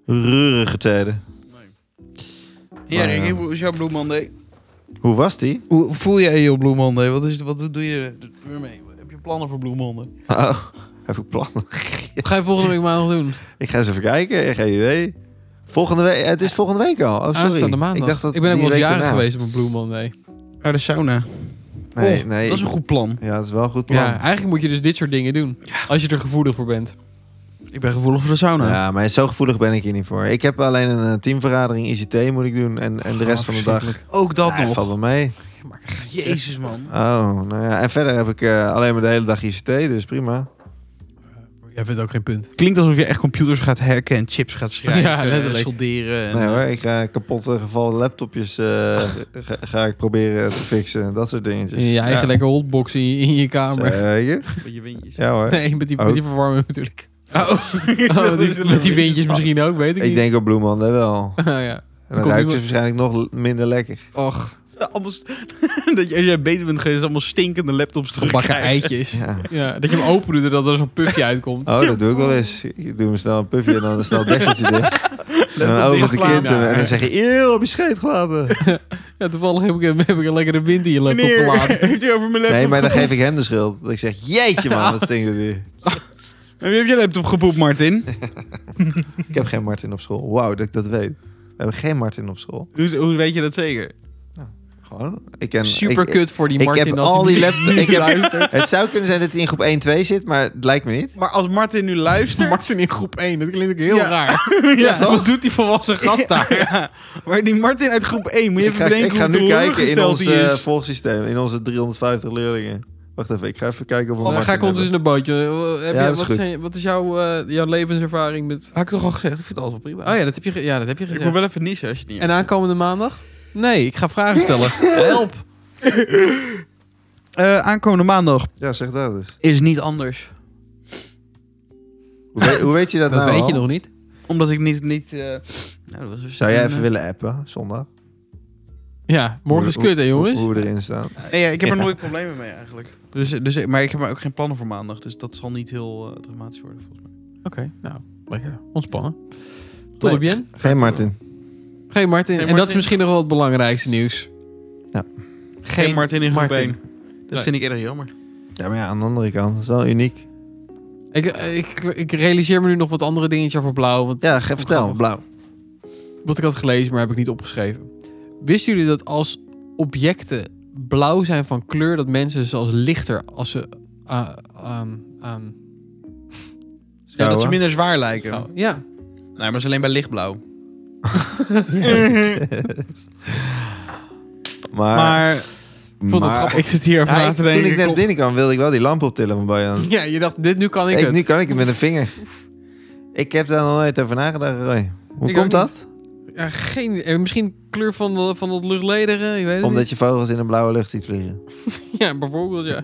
[SPEAKER 2] rurige tijden.
[SPEAKER 1] Nee. Ja,
[SPEAKER 2] Maar,
[SPEAKER 1] Rick,
[SPEAKER 2] eh,
[SPEAKER 1] hoe is jouw Blue Monday?
[SPEAKER 2] Hoe was die?
[SPEAKER 1] Hoe voel jij je op Blue Monday? Wat, is, het- wat doe je ermee? Heb je plannen voor Blue Monday?
[SPEAKER 2] Oh, heb ik plannen?
[SPEAKER 3] Wat ga je volgende week maandag doen?
[SPEAKER 2] Ik ga eens even kijken. Geen idee. Volgende week. Het is volgende week
[SPEAKER 3] Ah,
[SPEAKER 2] al. Oh, sorry.
[SPEAKER 3] Aanstaande maandag. Ik,
[SPEAKER 2] dacht dat
[SPEAKER 3] ben ook
[SPEAKER 2] die
[SPEAKER 3] wel eens
[SPEAKER 2] week
[SPEAKER 3] jarig
[SPEAKER 2] erna.
[SPEAKER 3] geweest op een Blue Monday.
[SPEAKER 1] Naar de sauna.
[SPEAKER 2] Nee,
[SPEAKER 1] Oh,
[SPEAKER 2] nee.
[SPEAKER 1] Dat is een goed plan.
[SPEAKER 2] Ja, dat is wel een goed plan.
[SPEAKER 3] Ja,
[SPEAKER 2] Ja,
[SPEAKER 3] eigenlijk moet je dus dit soort dingen doen. Als je er gevoelig voor bent.
[SPEAKER 1] Ik ben gevoelig voor de sauna.
[SPEAKER 2] maar zo gevoelig ben ik hier niet voor. Ik heb alleen een eh, teamvergadering ICT moet ik doen. En, en de rest
[SPEAKER 3] Ah,
[SPEAKER 2] van de dag.
[SPEAKER 3] verschrikkelijk.
[SPEAKER 1] Ook dat
[SPEAKER 2] Ja,
[SPEAKER 1] nog.
[SPEAKER 2] valt wel mee.
[SPEAKER 3] maak een geintje.
[SPEAKER 1] Jezus, man.
[SPEAKER 2] Oh, nou ja. En verder heb ik eh, alleen maar de hele dag ICT, dus prima.
[SPEAKER 3] Jij vindt ook geen punt.
[SPEAKER 1] Klinkt alsof je echt computers gaat hacken en chips gaat schrijven
[SPEAKER 3] Ja,
[SPEAKER 1] en
[SPEAKER 3] letterlijk.
[SPEAKER 1] solderen. En,
[SPEAKER 2] Nee hoor, ik ga kapotte gevallen laptopjes eh, ga, ga ik proberen te fixen. Dat soort dingetjes.
[SPEAKER 3] In je eigen
[SPEAKER 1] Ja.
[SPEAKER 3] lekker hotbox in je, in je kamer.
[SPEAKER 2] Zeker?
[SPEAKER 1] eh, je windjes.
[SPEAKER 2] Ja hoor.
[SPEAKER 3] Nee, met die, met
[SPEAKER 2] Ook.
[SPEAKER 3] die verwarming natuurlijk.
[SPEAKER 1] Oh,
[SPEAKER 3] Oh, die- met die windjes misschien ook, weet ik,
[SPEAKER 2] Ik
[SPEAKER 3] niet.
[SPEAKER 2] denk op Bloemand hè, wel.
[SPEAKER 3] Ah, ja.
[SPEAKER 2] En dan
[SPEAKER 3] Komt
[SPEAKER 2] ruikt ze
[SPEAKER 3] iemand-
[SPEAKER 2] waarschijnlijk nog l- minder lekker.
[SPEAKER 3] Och,
[SPEAKER 1] Allemaal st- dat je, als jij bezig bent geweest, allemaal stinkende laptops
[SPEAKER 3] gebakken
[SPEAKER 1] terugkrijgen.
[SPEAKER 3] eitjes. Ja.
[SPEAKER 2] Ja.
[SPEAKER 3] dat je hem open doet en dat er zo'n puffje uitkomt.
[SPEAKER 2] Oh, dat doe ik wel eens. Ik doe hem snel een puffje en dan een snel dekseltje dicht. En dan
[SPEAKER 1] Laptop
[SPEAKER 2] over de
[SPEAKER 1] dichtlaan.
[SPEAKER 2] kind en dan
[SPEAKER 3] Ja.
[SPEAKER 2] zeg je, eeuw, heb je scheet gelaten?
[SPEAKER 3] Ja, toevallig heb ik, een- heb ik een lekkere wind in je laptop gelaten.
[SPEAKER 1] Meneer, heeft u over mijn laptop
[SPEAKER 2] Nee, maar dan geef ik hem de schuld. Dat ik zeg, jeetje man, dat stinkt het hier.
[SPEAKER 1] Heb je op je laptop gepoept, Martin?
[SPEAKER 2] Ik heb geen Martin op school. Wauw, dat ik dat weet. We hebben geen Martin op school.
[SPEAKER 1] hoe, hoe weet je dat zeker?
[SPEAKER 2] Gewoon. Ik ken,
[SPEAKER 3] Super
[SPEAKER 2] ik-
[SPEAKER 3] kut voor die
[SPEAKER 2] ik
[SPEAKER 3] Martin.
[SPEAKER 2] heb
[SPEAKER 3] als
[SPEAKER 2] al
[SPEAKER 3] die
[SPEAKER 2] die
[SPEAKER 3] nu
[SPEAKER 2] laptop- ik heb-
[SPEAKER 3] luistert.
[SPEAKER 2] Het zou kunnen zijn dat hij in groep 1-2 zit, maar het lijkt me niet.
[SPEAKER 1] Maar als Martin nu luistert...
[SPEAKER 3] Martin in groep 1, dat klinkt ook heel
[SPEAKER 1] Ja.
[SPEAKER 3] raar.
[SPEAKER 1] Ja,
[SPEAKER 3] Wat doet die volwassen gast daar?
[SPEAKER 2] Oh,
[SPEAKER 1] Ja, maar die Martin uit groep 1, moet je
[SPEAKER 2] ik
[SPEAKER 1] even
[SPEAKER 2] ga, ik
[SPEAKER 1] bedenken
[SPEAKER 2] ga
[SPEAKER 1] hoe
[SPEAKER 2] nu kijken in
[SPEAKER 1] teleurgesteld
[SPEAKER 2] ons
[SPEAKER 1] die
[SPEAKER 2] eh,
[SPEAKER 1] is.
[SPEAKER 2] volgsysteem, in onze 350 leerlingen. Wacht even, ik ga even kijken of we
[SPEAKER 3] Oh, dan
[SPEAKER 2] Martin
[SPEAKER 3] ga ik ondertussen
[SPEAKER 2] hebben.
[SPEAKER 3] een bootje. Eh, Heb
[SPEAKER 2] Ja,
[SPEAKER 3] je-
[SPEAKER 2] dat is
[SPEAKER 3] wat,
[SPEAKER 2] goed.
[SPEAKER 3] zijn- wat is jouw, eh, jouw levenservaring met...
[SPEAKER 1] Had ik toch al gezegd, ik vind alles wel prima.
[SPEAKER 3] Oh ja, dat heb je, ge- ja, dat heb je
[SPEAKER 1] Ik
[SPEAKER 3] gezegd.
[SPEAKER 1] moet wel even nissen als je het niet
[SPEAKER 3] En aankomende maandag? Nee, ik ga vragen stellen.
[SPEAKER 2] Nou.
[SPEAKER 3] Help!
[SPEAKER 1] Eh, aankomende maandag
[SPEAKER 2] Ja, zeg dat dus.
[SPEAKER 1] is niet anders.
[SPEAKER 2] Hoe weet, hoe weet je dat,
[SPEAKER 3] Dat
[SPEAKER 2] nou
[SPEAKER 3] weet
[SPEAKER 2] al?
[SPEAKER 3] je nog niet.
[SPEAKER 1] Omdat ik niet... niet eh, nou, dat was
[SPEAKER 2] Zou jij even
[SPEAKER 1] eh,
[SPEAKER 2] willen appen, zondag?
[SPEAKER 3] Ja, morgen is
[SPEAKER 2] Hoe-
[SPEAKER 3] kut hè jongens?
[SPEAKER 2] Hoe, hoe we erin staan.
[SPEAKER 1] Nee, ja, ik heb er
[SPEAKER 2] Ja.
[SPEAKER 1] nooit problemen mee eigenlijk. Dus, dus, maar ik heb er ook geen plannen voor maandag. Dus dat zal niet heel eh, dramatisch worden volgens mij.
[SPEAKER 3] Oké, nou, lekker ontspannen. Tot op Jen.
[SPEAKER 2] Geen Martin.
[SPEAKER 3] Geen Martin.
[SPEAKER 1] Geen
[SPEAKER 3] En dat is
[SPEAKER 1] Martin.
[SPEAKER 3] misschien nog wel het belangrijkste nieuws.
[SPEAKER 2] Ja.
[SPEAKER 3] Geen,
[SPEAKER 1] Geen, Martin in groep
[SPEAKER 3] Martin.
[SPEAKER 1] 1. Dat
[SPEAKER 3] Nee.
[SPEAKER 1] vind ik eerder jammer.
[SPEAKER 2] Ja, maar ja, aan de andere kant. Dat is wel uniek.
[SPEAKER 3] Ik, ik, ik realiseer me nu nog wat andere dingetjes over Blauw. Want
[SPEAKER 2] Ja, ge- vertel.
[SPEAKER 3] Grappig.
[SPEAKER 2] Blauw.
[SPEAKER 3] Wat ik had gelezen, maar heb ik niet opgeschreven. Wisten jullie dat als objecten blauw zijn van kleur, dat mensen ze als lichter als ze ah, aan. aan
[SPEAKER 1] Ja, dat ze
[SPEAKER 2] Schouwen.
[SPEAKER 1] minder zwaar lijken.
[SPEAKER 3] oh, ja.
[SPEAKER 1] Nee, maar dat is alleen bij lichtblauw.
[SPEAKER 2] maar,
[SPEAKER 1] Maar
[SPEAKER 3] vond het
[SPEAKER 2] maar-
[SPEAKER 3] grappig.
[SPEAKER 1] ik zit hier even
[SPEAKER 2] Ja,
[SPEAKER 1] na
[SPEAKER 2] ik-
[SPEAKER 1] te
[SPEAKER 2] toen
[SPEAKER 1] denken.
[SPEAKER 2] ik net
[SPEAKER 1] klopt.
[SPEAKER 2] binnenkwam, wilde ik wel die lamp optillen van Bojan.
[SPEAKER 3] ja, je dacht, dit, nu kan ik,
[SPEAKER 2] Ik,
[SPEAKER 3] het.
[SPEAKER 2] nu kan ik het met een vinger. Ik heb daar nog nooit over nagedacht, Roy. Hoe
[SPEAKER 3] Ik ook
[SPEAKER 2] komt dat?
[SPEAKER 3] Ja, geen, eh, misschien kleur van, de- van dat luchtlederen, je weet het
[SPEAKER 2] Omdat je vogels in de blauwe lucht ziet vliegen.
[SPEAKER 3] niet. Ja, bijvoorbeeld, ja.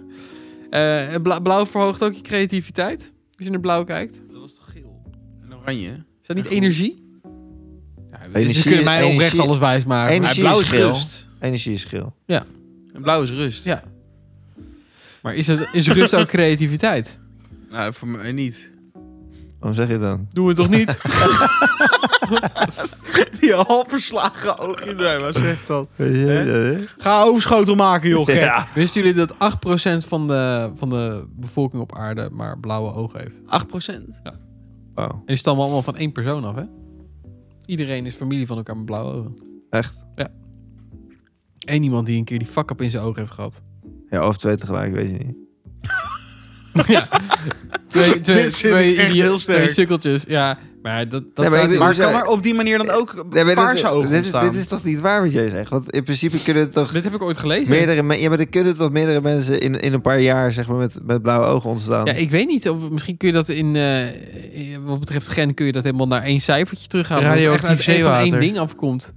[SPEAKER 3] Eh, bla- blauw verhoogt ook je creativiteit. Als je naar blauw kijkt.
[SPEAKER 1] Dat was toch geel? En oranje?
[SPEAKER 3] Is dat niet
[SPEAKER 1] Ja, goed.
[SPEAKER 3] energie? Ja,
[SPEAKER 2] Energie-
[SPEAKER 3] ze kunnen mij oprecht
[SPEAKER 2] energie-
[SPEAKER 3] alles wijsmaken.
[SPEAKER 2] energie-
[SPEAKER 1] Maar
[SPEAKER 2] is
[SPEAKER 1] blauw is
[SPEAKER 2] geel.
[SPEAKER 1] rust.
[SPEAKER 2] Energie is geel.
[SPEAKER 1] En blauw is rust.
[SPEAKER 3] Ja. Maar is, het, is rust ook creativiteit?
[SPEAKER 1] Nou, voor mij niet.
[SPEAKER 2] Waarom zeg je dan?
[SPEAKER 3] Doen we toch niet?
[SPEAKER 1] Die halverslagen oog in mij was echt dat.
[SPEAKER 2] Ja.
[SPEAKER 1] Ga overschotel maken, joh. gek.
[SPEAKER 2] Ja.
[SPEAKER 3] Wisten jullie dat 8% van de, van de bevolking op aarde maar blauwe ogen heeft?
[SPEAKER 1] 8%.
[SPEAKER 2] Wauw.
[SPEAKER 3] En die stammen allemaal van één persoon af, hè? Iedereen is familie van elkaar met blauwe ogen.
[SPEAKER 2] Echt?
[SPEAKER 3] Ja. Eén iemand die een keer die fuck-up in zijn ogen heeft gehad.
[SPEAKER 2] Ja, of twee tegelijk, weet je niet.
[SPEAKER 3] ja. Twee, twee,
[SPEAKER 1] Dit vind
[SPEAKER 3] twee,
[SPEAKER 1] ik echt
[SPEAKER 3] idioten-
[SPEAKER 1] heel sterk.
[SPEAKER 3] twee sukkeltjes. Ja, maar dat, dat
[SPEAKER 2] Nee, maar
[SPEAKER 3] staat-
[SPEAKER 2] ik-
[SPEAKER 1] Maar
[SPEAKER 2] Hoezo?
[SPEAKER 1] kan er op die manier dan ook
[SPEAKER 2] Nee, maar
[SPEAKER 1] paarse
[SPEAKER 2] dit,
[SPEAKER 1] ogen
[SPEAKER 2] dit, is-
[SPEAKER 1] ontstaan?
[SPEAKER 2] dit is toch niet waar wat jij zegt? Want in principe kunnen er toch
[SPEAKER 3] Dit heb ik ooit gelezen.
[SPEAKER 2] meerdere, me- ja, maar er kunnen toch meerdere mensen in, in een paar jaar zeg maar, met, met blauwe ogen ontstaan.
[SPEAKER 3] Ja, ik weet niet. Of, misschien kun je dat in... eh, eh, wat betreft gen kun je dat helemaal naar één cijfertje terughalen. Dat het
[SPEAKER 1] Radioactief
[SPEAKER 3] echt uit één- van één
[SPEAKER 1] zeewater.
[SPEAKER 3] ding afkomt.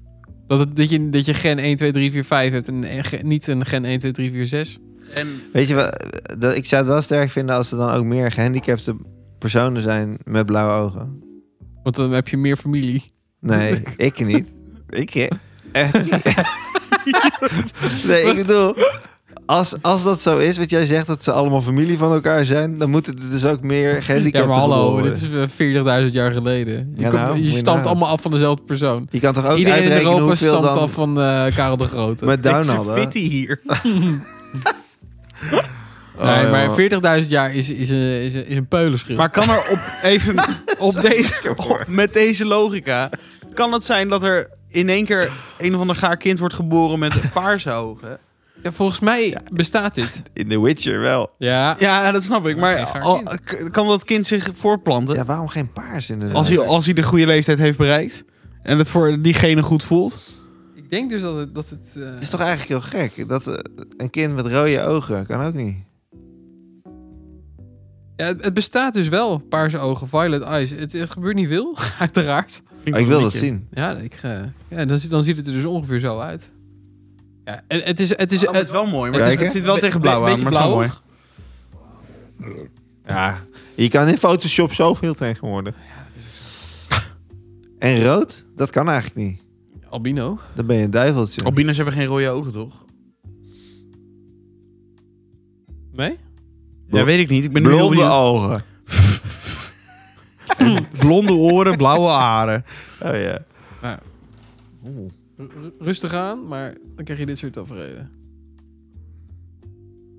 [SPEAKER 3] Dat, het, dat, je, dat je gen 1, 2, 3, 4, 5 hebt en eh, ge- niet een gen 1, 2, 3, 4, 6.
[SPEAKER 1] En
[SPEAKER 2] Weet je wel, dat, ik zou het wel sterk vinden als er dan ook meer gehandicapte personen zijn met blauwe ogen.
[SPEAKER 3] Want dan heb je meer familie.
[SPEAKER 2] Nee, ik niet. Ik hè?
[SPEAKER 3] Eh.
[SPEAKER 2] Echt niet. Nee, ik bedoel, als, als dat zo is, wat jij zegt, dat ze allemaal familie van elkaar zijn, dan moeten er dus ook meer
[SPEAKER 3] Ja,
[SPEAKER 2] gehandicapten
[SPEAKER 3] maar hallo,
[SPEAKER 2] geboren
[SPEAKER 3] dit
[SPEAKER 2] worden.
[SPEAKER 3] is eh, 40.000 jaar geleden. Je,
[SPEAKER 2] Ja,
[SPEAKER 3] komt-
[SPEAKER 2] nou,
[SPEAKER 3] je
[SPEAKER 2] moet je
[SPEAKER 3] stamt
[SPEAKER 2] nagaan.
[SPEAKER 3] allemaal af van dezelfde persoon.
[SPEAKER 2] Je kan toch ook
[SPEAKER 3] Iedereen in
[SPEAKER 2] uitrekenen
[SPEAKER 3] Europa
[SPEAKER 2] hoeveel
[SPEAKER 3] stamt
[SPEAKER 2] dan
[SPEAKER 3] af van eh, Karel de Grote.
[SPEAKER 2] met Down hadden?
[SPEAKER 1] fit hier.
[SPEAKER 2] Oh,
[SPEAKER 3] nee, maar
[SPEAKER 2] joh.
[SPEAKER 3] 40.000 jaar is, is, een, is, een, is een peulenschil.
[SPEAKER 1] Maar kan er op, even op deze, op- met deze logica... kan het zijn dat er in één keer een of ander gaar kind wordt geboren met paarse ogen?
[SPEAKER 3] Ja, volgens mij bestaat dit.
[SPEAKER 2] in The Witcher wel.
[SPEAKER 3] Ja.
[SPEAKER 1] Ja, dat snap ik. Maar
[SPEAKER 3] Geen gaar
[SPEAKER 1] al- k- kan dat kind zich voortplanten?
[SPEAKER 2] Ja, waarom geen paars in de
[SPEAKER 1] Als hij, als hij de goede leeftijd heeft bereikt en het voor diegene goed voelt.
[SPEAKER 3] Ik Ik denk dus dat het... Dat het eh,
[SPEAKER 2] Het is toch eigenlijk heel gek dat eh, een kind met rode ogen kan ook niet.
[SPEAKER 3] ja, het, het bestaat dus wel, paarse ogen, violet eyes. Het, het gebeurt niet veel, uiteraard.
[SPEAKER 2] Oh, ik wil dat zien.
[SPEAKER 3] Ja, ik, eh, ja dan, zie- dan ziet het er dus ongeveer zo uit. Ja, en het is... Het Ah, is
[SPEAKER 1] Het is eh, wel mooi, maar
[SPEAKER 2] Kijken.
[SPEAKER 1] het, is- het zit wel
[SPEAKER 3] Be-
[SPEAKER 1] tegen
[SPEAKER 3] be-
[SPEAKER 1] blauw aan.
[SPEAKER 3] beetje
[SPEAKER 1] Maar het is wel mooi.
[SPEAKER 3] blauwig.
[SPEAKER 2] Ja, je kan in Photoshop zoveel tegenwoordig. En rood, dat kan eigenlijk niet.
[SPEAKER 3] Albino.
[SPEAKER 2] Dan ben je een duiveltje.
[SPEAKER 1] Albino's hebben geen rode ogen, toch?
[SPEAKER 3] Nee?
[SPEAKER 1] Ja, weet ik niet. Ik ben nu heel
[SPEAKER 2] Blonde
[SPEAKER 1] benieuwd.
[SPEAKER 2] ogen.
[SPEAKER 1] Blonde oren, blauwe haren.
[SPEAKER 2] Oh ja.
[SPEAKER 3] Nou.
[SPEAKER 2] Oeh.
[SPEAKER 3] Ru- Rustig aan, maar dan krijg je dit soort tafereelen.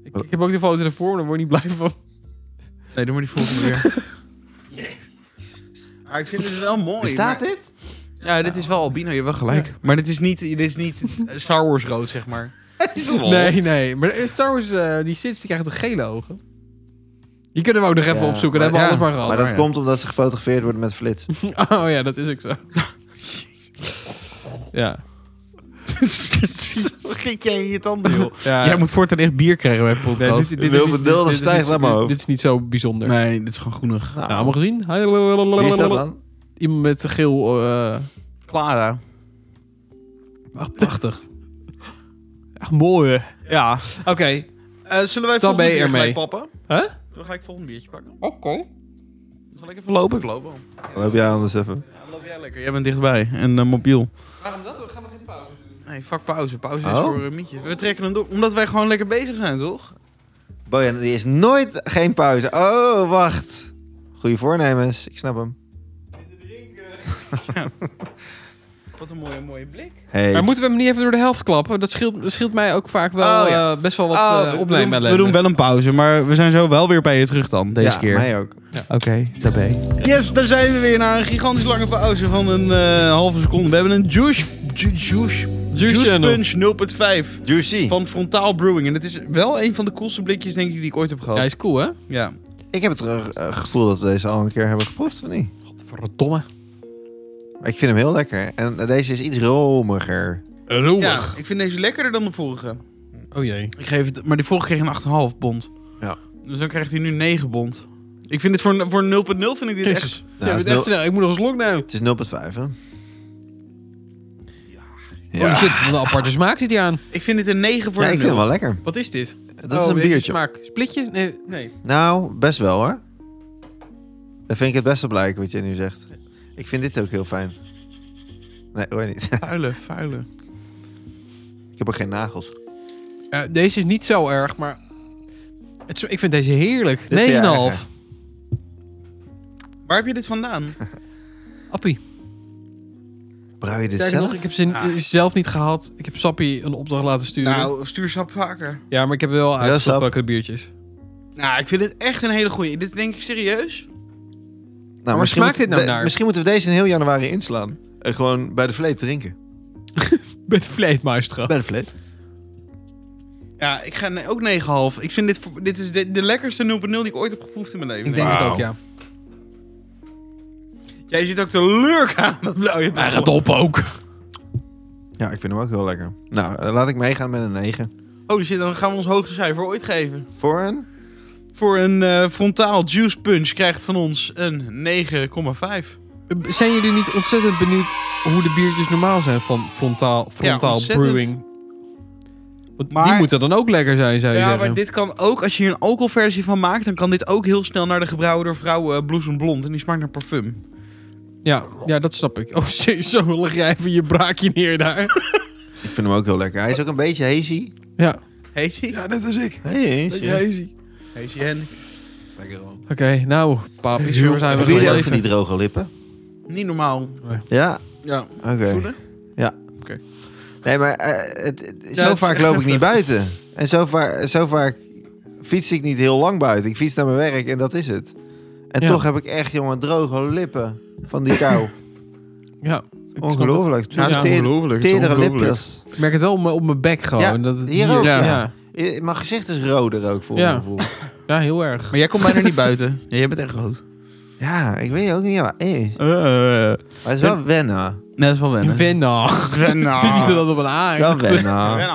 [SPEAKER 3] Ik, ik heb ook de foto ervoor, maar daar word je niet blij van.
[SPEAKER 1] Nee, doe maar die volgende weer. Maar ik vind het wel mooi.
[SPEAKER 2] Bestaat dit?
[SPEAKER 1] Ja, dit is wel albino, je hebt wel gelijk. Maar dit is niet, dit is niet eh, Star Wars rood, zeg maar.
[SPEAKER 3] Nee, nee. Maar Star Wars, eh, die Sith, die krijgen toch gele ogen? Die kunnen we ook nog even
[SPEAKER 2] Ja,
[SPEAKER 3] opzoeken. Daar
[SPEAKER 1] maar-
[SPEAKER 3] hebben we
[SPEAKER 1] ja,
[SPEAKER 3] alles
[SPEAKER 2] Maar
[SPEAKER 3] maar
[SPEAKER 2] dat
[SPEAKER 1] Oh, ja.
[SPEAKER 2] komt omdat ze gefotografeerd worden met flits.
[SPEAKER 3] gehad. Oh ja, dat is ook zo. ja.
[SPEAKER 1] Schrik jij in je tanden, joh.
[SPEAKER 3] ja.
[SPEAKER 1] Jij moet voortaan echt bier krijgen bij
[SPEAKER 3] Nee,
[SPEAKER 1] podcast.
[SPEAKER 2] Wil bedulden stijgt
[SPEAKER 3] dit,
[SPEAKER 2] naar mijn
[SPEAKER 3] dit-
[SPEAKER 2] hoofd.
[SPEAKER 3] dit is niet zo bijzonder.
[SPEAKER 1] Nee, dit is gewoon groenig.
[SPEAKER 2] Nou,
[SPEAKER 3] Nou, allemaal gezien?
[SPEAKER 2] wie is dat dan?
[SPEAKER 3] Iemand met geel... eh,
[SPEAKER 1] Clara.
[SPEAKER 3] Ach, prachtig. Echt mooi. hè?
[SPEAKER 1] Ja. Eh,
[SPEAKER 3] Oké.
[SPEAKER 1] zullen wij
[SPEAKER 3] Dan ben
[SPEAKER 1] volgende
[SPEAKER 3] je
[SPEAKER 1] keer
[SPEAKER 3] ermee.
[SPEAKER 1] gelijk pappen?
[SPEAKER 3] Huh?
[SPEAKER 1] Zullen we gelijk volgend biertje pakken?
[SPEAKER 3] Oké.
[SPEAKER 1] Zal ik even lopen? Ik loop wel.
[SPEAKER 2] Loop Oh, jij anders even.
[SPEAKER 1] Ja, loop jij lekker. Jij bent dichtbij. En eh, mobiel.
[SPEAKER 3] Waarom dat? We gaan we geen pauze doen.
[SPEAKER 1] Nee, fuck pauze. Pauze is
[SPEAKER 2] Oh.
[SPEAKER 1] voor een mietje. We trekken hem door. Omdat wij gewoon lekker bezig zijn, toch?
[SPEAKER 2] Bojan, die is nooit geen pauze. Oh, wacht. Goeie voornemens. Ik snap hem.
[SPEAKER 1] Wat een mooie, mooie blik.
[SPEAKER 2] Hey.
[SPEAKER 3] Maar moeten we hem niet even door de helft klappen? Dat scheelt, dat scheelt mij ook vaak wel
[SPEAKER 1] Oh, ja.
[SPEAKER 3] eh, best wel wat
[SPEAKER 1] Ah,
[SPEAKER 3] eh,
[SPEAKER 1] we,
[SPEAKER 3] opnemen.
[SPEAKER 1] doen, we doen wel een pauze, maar we zijn zo wel weer bij je terug dan, deze
[SPEAKER 2] ja,
[SPEAKER 1] keer.
[SPEAKER 2] mij ook.
[SPEAKER 1] Oké, tabé. Yes, daar zijn we weer na een gigantisch lange pauze van een eh, halve seconde. We hebben een Juice, ju, juice,
[SPEAKER 3] Juice
[SPEAKER 1] juice
[SPEAKER 3] Channel.
[SPEAKER 1] Punch 0.5
[SPEAKER 2] Juicy.
[SPEAKER 1] van Frontaal Brewing. En het is wel een van de coolste blikjes, denk ik, die ik ooit heb
[SPEAKER 3] Ja,
[SPEAKER 1] gehad.
[SPEAKER 3] hij is cool, hè?
[SPEAKER 1] Ja.
[SPEAKER 2] Ik heb het eh, gevoel dat we deze al een keer hebben geproefd, of niet?
[SPEAKER 3] Godverdomme.
[SPEAKER 2] Maar ik vind hem heel lekker. En deze is iets romiger.
[SPEAKER 1] ja,
[SPEAKER 3] Roemig.
[SPEAKER 1] ik vind deze lekkerder dan de vorige.
[SPEAKER 3] Oh jee.
[SPEAKER 1] Ik geef het, maar die vorige kreeg een 8,5 bond.
[SPEAKER 2] Ja.
[SPEAKER 1] Dus dan krijgt hij nu 9 bond. Ik vind dit voor, een- voor een 0.0 vind ik dit echt...
[SPEAKER 3] Jezus.
[SPEAKER 2] Nou, het,
[SPEAKER 3] ja, het
[SPEAKER 2] is
[SPEAKER 3] echt
[SPEAKER 2] nul-
[SPEAKER 3] snel. Ik moet nog eens nou. lockdown.
[SPEAKER 2] het is 0,5, hè?
[SPEAKER 3] Holy shit, wat een aparte smaak Oh, zit hier aan.
[SPEAKER 1] Ik vind dit een 9 voor
[SPEAKER 2] Ja,
[SPEAKER 1] een
[SPEAKER 2] ik vind hem
[SPEAKER 1] 0.
[SPEAKER 2] wel lekker.
[SPEAKER 3] Wat is dit?
[SPEAKER 2] Dat is Oh, een biertje.
[SPEAKER 3] smaak. Splitjes? Nee. nee.
[SPEAKER 2] Nou, best wel, hoor. Dan vind ik het best wel blijken wat je nu zegt. Ik vind dit ook heel fijn. Nee, hoor je niet.
[SPEAKER 1] Vuile, vuile.
[SPEAKER 2] ik heb ook geen nagels.
[SPEAKER 3] Ja, deze is niet zo erg, maar... Het, is- ik vind deze heerlijk. 9,5.
[SPEAKER 2] vind jij erger.
[SPEAKER 1] Waar heb je dit vandaan?
[SPEAKER 3] Appie.
[SPEAKER 2] Brouw je dit
[SPEAKER 3] Sterker nog,
[SPEAKER 2] zelf?
[SPEAKER 3] ik heb ze n- eh,
[SPEAKER 1] Ah.
[SPEAKER 3] zelf niet gehad. Ik heb Sappie een opdracht laten sturen.
[SPEAKER 1] nou, stuursap vaker.
[SPEAKER 3] ja, maar ik heb wel
[SPEAKER 2] Sap.
[SPEAKER 3] uitgezocht welke de biertjes.
[SPEAKER 1] Nou, ik vind dit echt een hele goeie. Dit denk ik serieus.
[SPEAKER 2] Nou,
[SPEAKER 3] Maar
[SPEAKER 2] misschien
[SPEAKER 3] smaakt
[SPEAKER 2] moeten-
[SPEAKER 3] dit nou
[SPEAKER 2] de-
[SPEAKER 3] naar?
[SPEAKER 2] Misschien moeten we deze in heel januari inslaan. En gewoon bij de vleet drinken.
[SPEAKER 3] Met vleetmuistra.
[SPEAKER 2] Bij de vleet.
[SPEAKER 1] Ja, ik ga ne- ook 9,5. Ik vind dit, voor- dit is de, de lekkerste 0.0 die ik ooit heb geproefd in mijn leven.
[SPEAKER 3] Ik denk het
[SPEAKER 2] Wauw.
[SPEAKER 3] ook, ja.
[SPEAKER 1] Jij zit ook te lurk aan dat blauwe tafel.
[SPEAKER 3] op ook.
[SPEAKER 2] Ja, ik vind hem ook heel lekker. Nou, eh, laat ik meegaan met een 9.
[SPEAKER 1] Oh, shit, dan gaan we ons hoogste cijfer ooit geven.
[SPEAKER 2] Voor een?
[SPEAKER 1] Voor een eh, frontaal juice punch krijgt van ons een 9,5.
[SPEAKER 3] Zijn jullie niet ontzettend benieuwd hoe de biertjes normaal zijn van Frontaal, frontaal
[SPEAKER 1] ontzettend.
[SPEAKER 3] Brewing? Want die
[SPEAKER 1] Maar-
[SPEAKER 3] moeten dan ook lekker zijn, zou je
[SPEAKER 1] Ja,
[SPEAKER 3] zeggen.
[SPEAKER 1] maar dit kan ook, als je hier een alcoholversie van maakt, dan kan dit ook heel snel naar de gebrouwen door vrouwen eh, Bloesem Blond. En die smaakt naar parfum.
[SPEAKER 3] ja, ja, dat snap ik. Oh, zo zo lig jij even je braakje neer daar.
[SPEAKER 2] Ik vind hem ook heel lekker. Hij is ook een beetje hazy.
[SPEAKER 3] ja.
[SPEAKER 1] Heet hij?
[SPEAKER 2] net als ik. Hey, hazy.
[SPEAKER 1] Heet hij hen?
[SPEAKER 2] Lekker man.
[SPEAKER 3] Oké, nou, papies, waar zijn we
[SPEAKER 2] Hebben jullie ook
[SPEAKER 3] gebleven?
[SPEAKER 2] van die droge lippen?
[SPEAKER 1] Niet normaal.
[SPEAKER 2] Ja,
[SPEAKER 1] Ja.
[SPEAKER 2] oké.
[SPEAKER 1] Voelen?
[SPEAKER 2] Nee, maar eh, het, het-
[SPEAKER 1] Ja,
[SPEAKER 2] zo
[SPEAKER 1] het is
[SPEAKER 2] vaak
[SPEAKER 1] echt
[SPEAKER 2] loop ik
[SPEAKER 1] heftig.
[SPEAKER 2] niet buiten. En zo vaak, zo vaak fiets ik niet heel lang buiten. Ik fiets naar mijn werk en dat is het. En
[SPEAKER 3] Ja.
[SPEAKER 2] toch heb ik echt, jongen, droge lippen van die kou.
[SPEAKER 3] Ja, ik snap het.
[SPEAKER 2] Ongelooflijk.
[SPEAKER 1] Ja, het is
[SPEAKER 3] Ja.
[SPEAKER 2] Teer-
[SPEAKER 1] ongelooflijk. Het is
[SPEAKER 2] Terdere
[SPEAKER 1] ongelooflijk.
[SPEAKER 2] lipjes.
[SPEAKER 3] Ik merk het wel op mijn- op mijn bek gewoon.
[SPEAKER 2] Ja,
[SPEAKER 3] dat het
[SPEAKER 2] hier ook,
[SPEAKER 3] Ja.
[SPEAKER 1] ja.
[SPEAKER 3] Ja.
[SPEAKER 2] Eh, Mijn gezicht is roder ook voor
[SPEAKER 3] Ja.
[SPEAKER 2] mijn gevoel.
[SPEAKER 3] heel erg.
[SPEAKER 1] Maar jij komt bijna niet buiten. Ja, jij bent echt groot.
[SPEAKER 2] Ja, ik weet ook niet. Maar, eh. maar het is wel wennen.
[SPEAKER 1] Nee, dat is wel wennen.
[SPEAKER 3] Venna.
[SPEAKER 1] Wennen.
[SPEAKER 3] Vind ik dat op een A?
[SPEAKER 2] Wel wennen.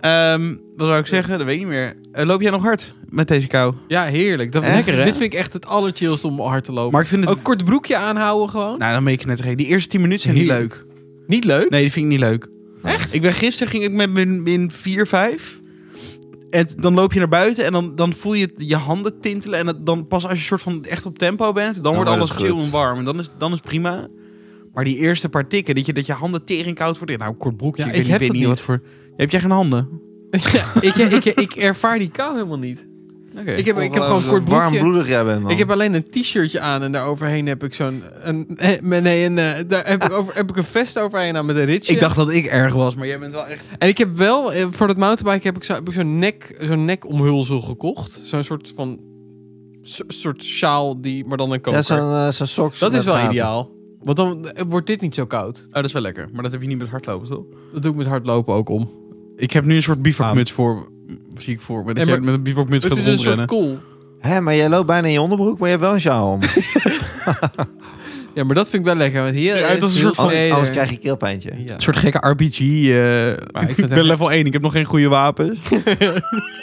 [SPEAKER 1] Ehm, wat zou ik zeggen? Dat weet ik niet meer. Eh, loop jij nog hard met deze kou?
[SPEAKER 3] Ja, heerlijk. Dat
[SPEAKER 2] Echt,
[SPEAKER 3] lekker,
[SPEAKER 2] hè?
[SPEAKER 3] Dit vind ik echt het allerchillst om hard te lopen.
[SPEAKER 1] Maar ik vind het...
[SPEAKER 3] Ook kort broekje aanhouden gewoon.
[SPEAKER 1] Nou, dan ben ik net gek. Die eerste 10 minuten zijn niet
[SPEAKER 3] Heerlijk.
[SPEAKER 1] leuk.
[SPEAKER 3] Niet leuk.
[SPEAKER 1] Nee, die vind ik niet leuk.
[SPEAKER 3] Echt?
[SPEAKER 1] Ik ben gisteren ging ik met min, min 4, 5. En t- dan loop je naar buiten en dan, dan voel je je handen tintelen. En het- dan pas als je soort van echt op tempo bent,
[SPEAKER 3] Oh,
[SPEAKER 1] dan, wordt
[SPEAKER 2] wordt
[SPEAKER 1] alles
[SPEAKER 2] het
[SPEAKER 1] chill
[SPEAKER 2] goed.
[SPEAKER 1] en warm. En dan is, dan is prima. Maar die eerste paar tikken, dat je, dat je handen tering koud worden. Nou, kort broekje,
[SPEAKER 3] Ja,
[SPEAKER 1] ik, weet
[SPEAKER 3] ik
[SPEAKER 1] niet-
[SPEAKER 3] heb
[SPEAKER 1] weet
[SPEAKER 3] dat
[SPEAKER 1] niet wat
[SPEAKER 3] niet.
[SPEAKER 1] voor... Heb jij geen handen?
[SPEAKER 3] Ja, ik, ik, ik ervaar die kou helemaal niet.
[SPEAKER 1] Oké.
[SPEAKER 3] Ik heb, ik heb gewoon kort broekje.
[SPEAKER 2] Warmbloedig jij bent, man.
[SPEAKER 3] Ik heb alleen een t-shirtje aan en daaroverheen heb ik zo'n... Een, eh, nee, een, eh, daar heb ik, over, heb ik een vest overheen aan met een ritje.
[SPEAKER 1] Ik dacht dat ik erg was, maar jij bent wel echt...
[SPEAKER 3] En ik heb wel, eh, voor dat mountainbike heb ik zo- heb ik zo'n nek, zo'n nekomhulsel gekocht. Zo'n soort van, so- soort sjaal, die, maar dan een koker.
[SPEAKER 2] ja, zo'n eh, zo'n sok.
[SPEAKER 3] dat
[SPEAKER 2] met
[SPEAKER 3] is wel
[SPEAKER 2] gaten.
[SPEAKER 3] ideaal. Want dan eh, wordt dit niet zo koud.
[SPEAKER 1] Oh, dat is wel lekker. Maar dat heb je niet met hardlopen, toch?
[SPEAKER 3] Dat doe ik met hardlopen ook om.
[SPEAKER 1] Ik heb nu een soort bivakmuts voor... Zie ik voor me. Dat
[SPEAKER 3] Ja,
[SPEAKER 1] jij
[SPEAKER 3] maar-
[SPEAKER 1] met een bivakmuts
[SPEAKER 3] Het
[SPEAKER 1] gaat
[SPEAKER 3] is een soort
[SPEAKER 1] rondrennen.
[SPEAKER 3] kool.
[SPEAKER 2] Hè, maar jij loopt bijna in je onderbroek, maar je hebt wel een sjaal om.
[SPEAKER 3] Ja, maar dat vind ik wel lekker. Want hier
[SPEAKER 1] Ja,
[SPEAKER 3] is
[SPEAKER 1] dat is een
[SPEAKER 3] heel
[SPEAKER 1] soort van-
[SPEAKER 3] teder.
[SPEAKER 2] Anders krijg je keelpijntje.
[SPEAKER 3] Ja.
[SPEAKER 1] Een soort gekke RPG. eh.
[SPEAKER 3] Maar ik vind
[SPEAKER 1] ik
[SPEAKER 3] het
[SPEAKER 1] ben
[SPEAKER 3] echt-
[SPEAKER 1] level 1, ik heb nog geen goede wapens. maar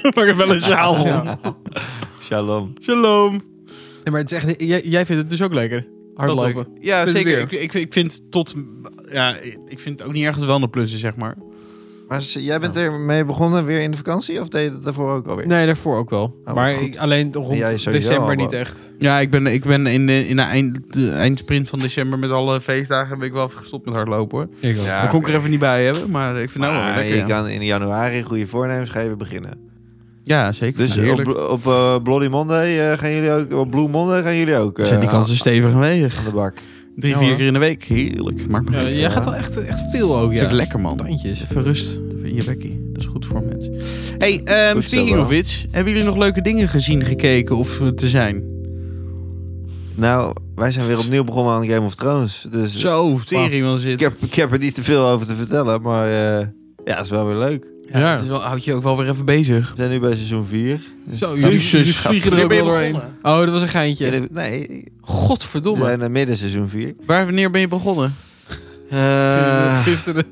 [SPEAKER 1] ik heb wel een sjaal om.
[SPEAKER 3] Ja.
[SPEAKER 2] Shalom.
[SPEAKER 1] Shalom.
[SPEAKER 3] Nee, maar het is echt, jij, jij vindt het dus ook lekker. Hardlopen.
[SPEAKER 1] Dat ook. Ja,
[SPEAKER 3] Met
[SPEAKER 1] zeker.
[SPEAKER 3] weer.
[SPEAKER 1] Ik, ik, ik vind tot... Ja, ik vind het ook niet ergens wel een plus is, zeg maar.
[SPEAKER 2] Maar ze- jij bent ermee begonnen weer in de vakantie? Of deed je dat daarvoor ook alweer?
[SPEAKER 3] Nee, daarvoor ook wel.
[SPEAKER 2] Oh, wat
[SPEAKER 3] maar
[SPEAKER 2] goed.
[SPEAKER 3] ik- alleen rond
[SPEAKER 2] jij sowieso al,
[SPEAKER 3] december niet
[SPEAKER 2] maar-
[SPEAKER 3] echt.
[SPEAKER 1] Ja, ik ben, ik ben in, de, in de, eind, de eindsprint van december met alle feestdagen ben ik wel even gestopt met hardlopen, hoor.
[SPEAKER 3] Ik ook.
[SPEAKER 2] Ja.
[SPEAKER 1] Daar kon ik er
[SPEAKER 2] oké.
[SPEAKER 1] even niet bij hebben, maar ik vind nou wel
[SPEAKER 2] Maar
[SPEAKER 1] weer
[SPEAKER 2] je
[SPEAKER 1] lekker. Ja.
[SPEAKER 2] kan in januari goede voornemens ga je weer beginnen.
[SPEAKER 1] ja, zeker.
[SPEAKER 2] Dus
[SPEAKER 1] Nou,
[SPEAKER 2] op,
[SPEAKER 1] heerlijk.
[SPEAKER 2] bl- op eh, Bloody Monday eh, gaan jullie ook, op Blue Monday gaan jullie ook eh,
[SPEAKER 1] zijn die kansen stevig aanwezig.
[SPEAKER 2] aan de bak.
[SPEAKER 1] Drie,
[SPEAKER 3] Ja,
[SPEAKER 1] vier
[SPEAKER 3] hoor.
[SPEAKER 1] keer in de week. Heerlijk. Maakt me
[SPEAKER 3] Ja,
[SPEAKER 1] niet uit.
[SPEAKER 3] jij gaat wel echt, echt veel ook,
[SPEAKER 1] Dat
[SPEAKER 3] ja.
[SPEAKER 1] is ook lekker, man.
[SPEAKER 3] Tandjes.
[SPEAKER 1] Even rust in je bekkie. Dat is goed voor mensen. Hey, ehm,
[SPEAKER 2] Goed zo,
[SPEAKER 1] speaking
[SPEAKER 2] bro.
[SPEAKER 1] of which, hebben jullie nog leuke dingen gezien, gekeken of eh, te zijn?
[SPEAKER 2] Nou, wij zijn weer opnieuw begonnen aan Game of Thrones. Dus
[SPEAKER 1] Zo, serie man zit.
[SPEAKER 2] ik, heb, ik heb er niet te veel over te vertellen. Maar eh, ja, het is wel weer leuk.
[SPEAKER 1] Ja,
[SPEAKER 3] Ja.
[SPEAKER 1] Het is wel, houdt je ook wel weer even bezig.
[SPEAKER 2] We zijn nu bij seizoen Dus 4.
[SPEAKER 3] Zo,
[SPEAKER 1] Jezus,
[SPEAKER 3] jullie- jullie vliegen er
[SPEAKER 1] Wanneer
[SPEAKER 3] ook
[SPEAKER 1] ben je
[SPEAKER 3] wel doorheen.
[SPEAKER 1] begonnen?
[SPEAKER 3] Oh, dat was een geintje.
[SPEAKER 2] Nee, we
[SPEAKER 3] Godverdomme.
[SPEAKER 2] zijn eh, midden seizoen 4.
[SPEAKER 1] Waar, wanneer ben je begonnen?
[SPEAKER 2] Eh,
[SPEAKER 3] Gisteren.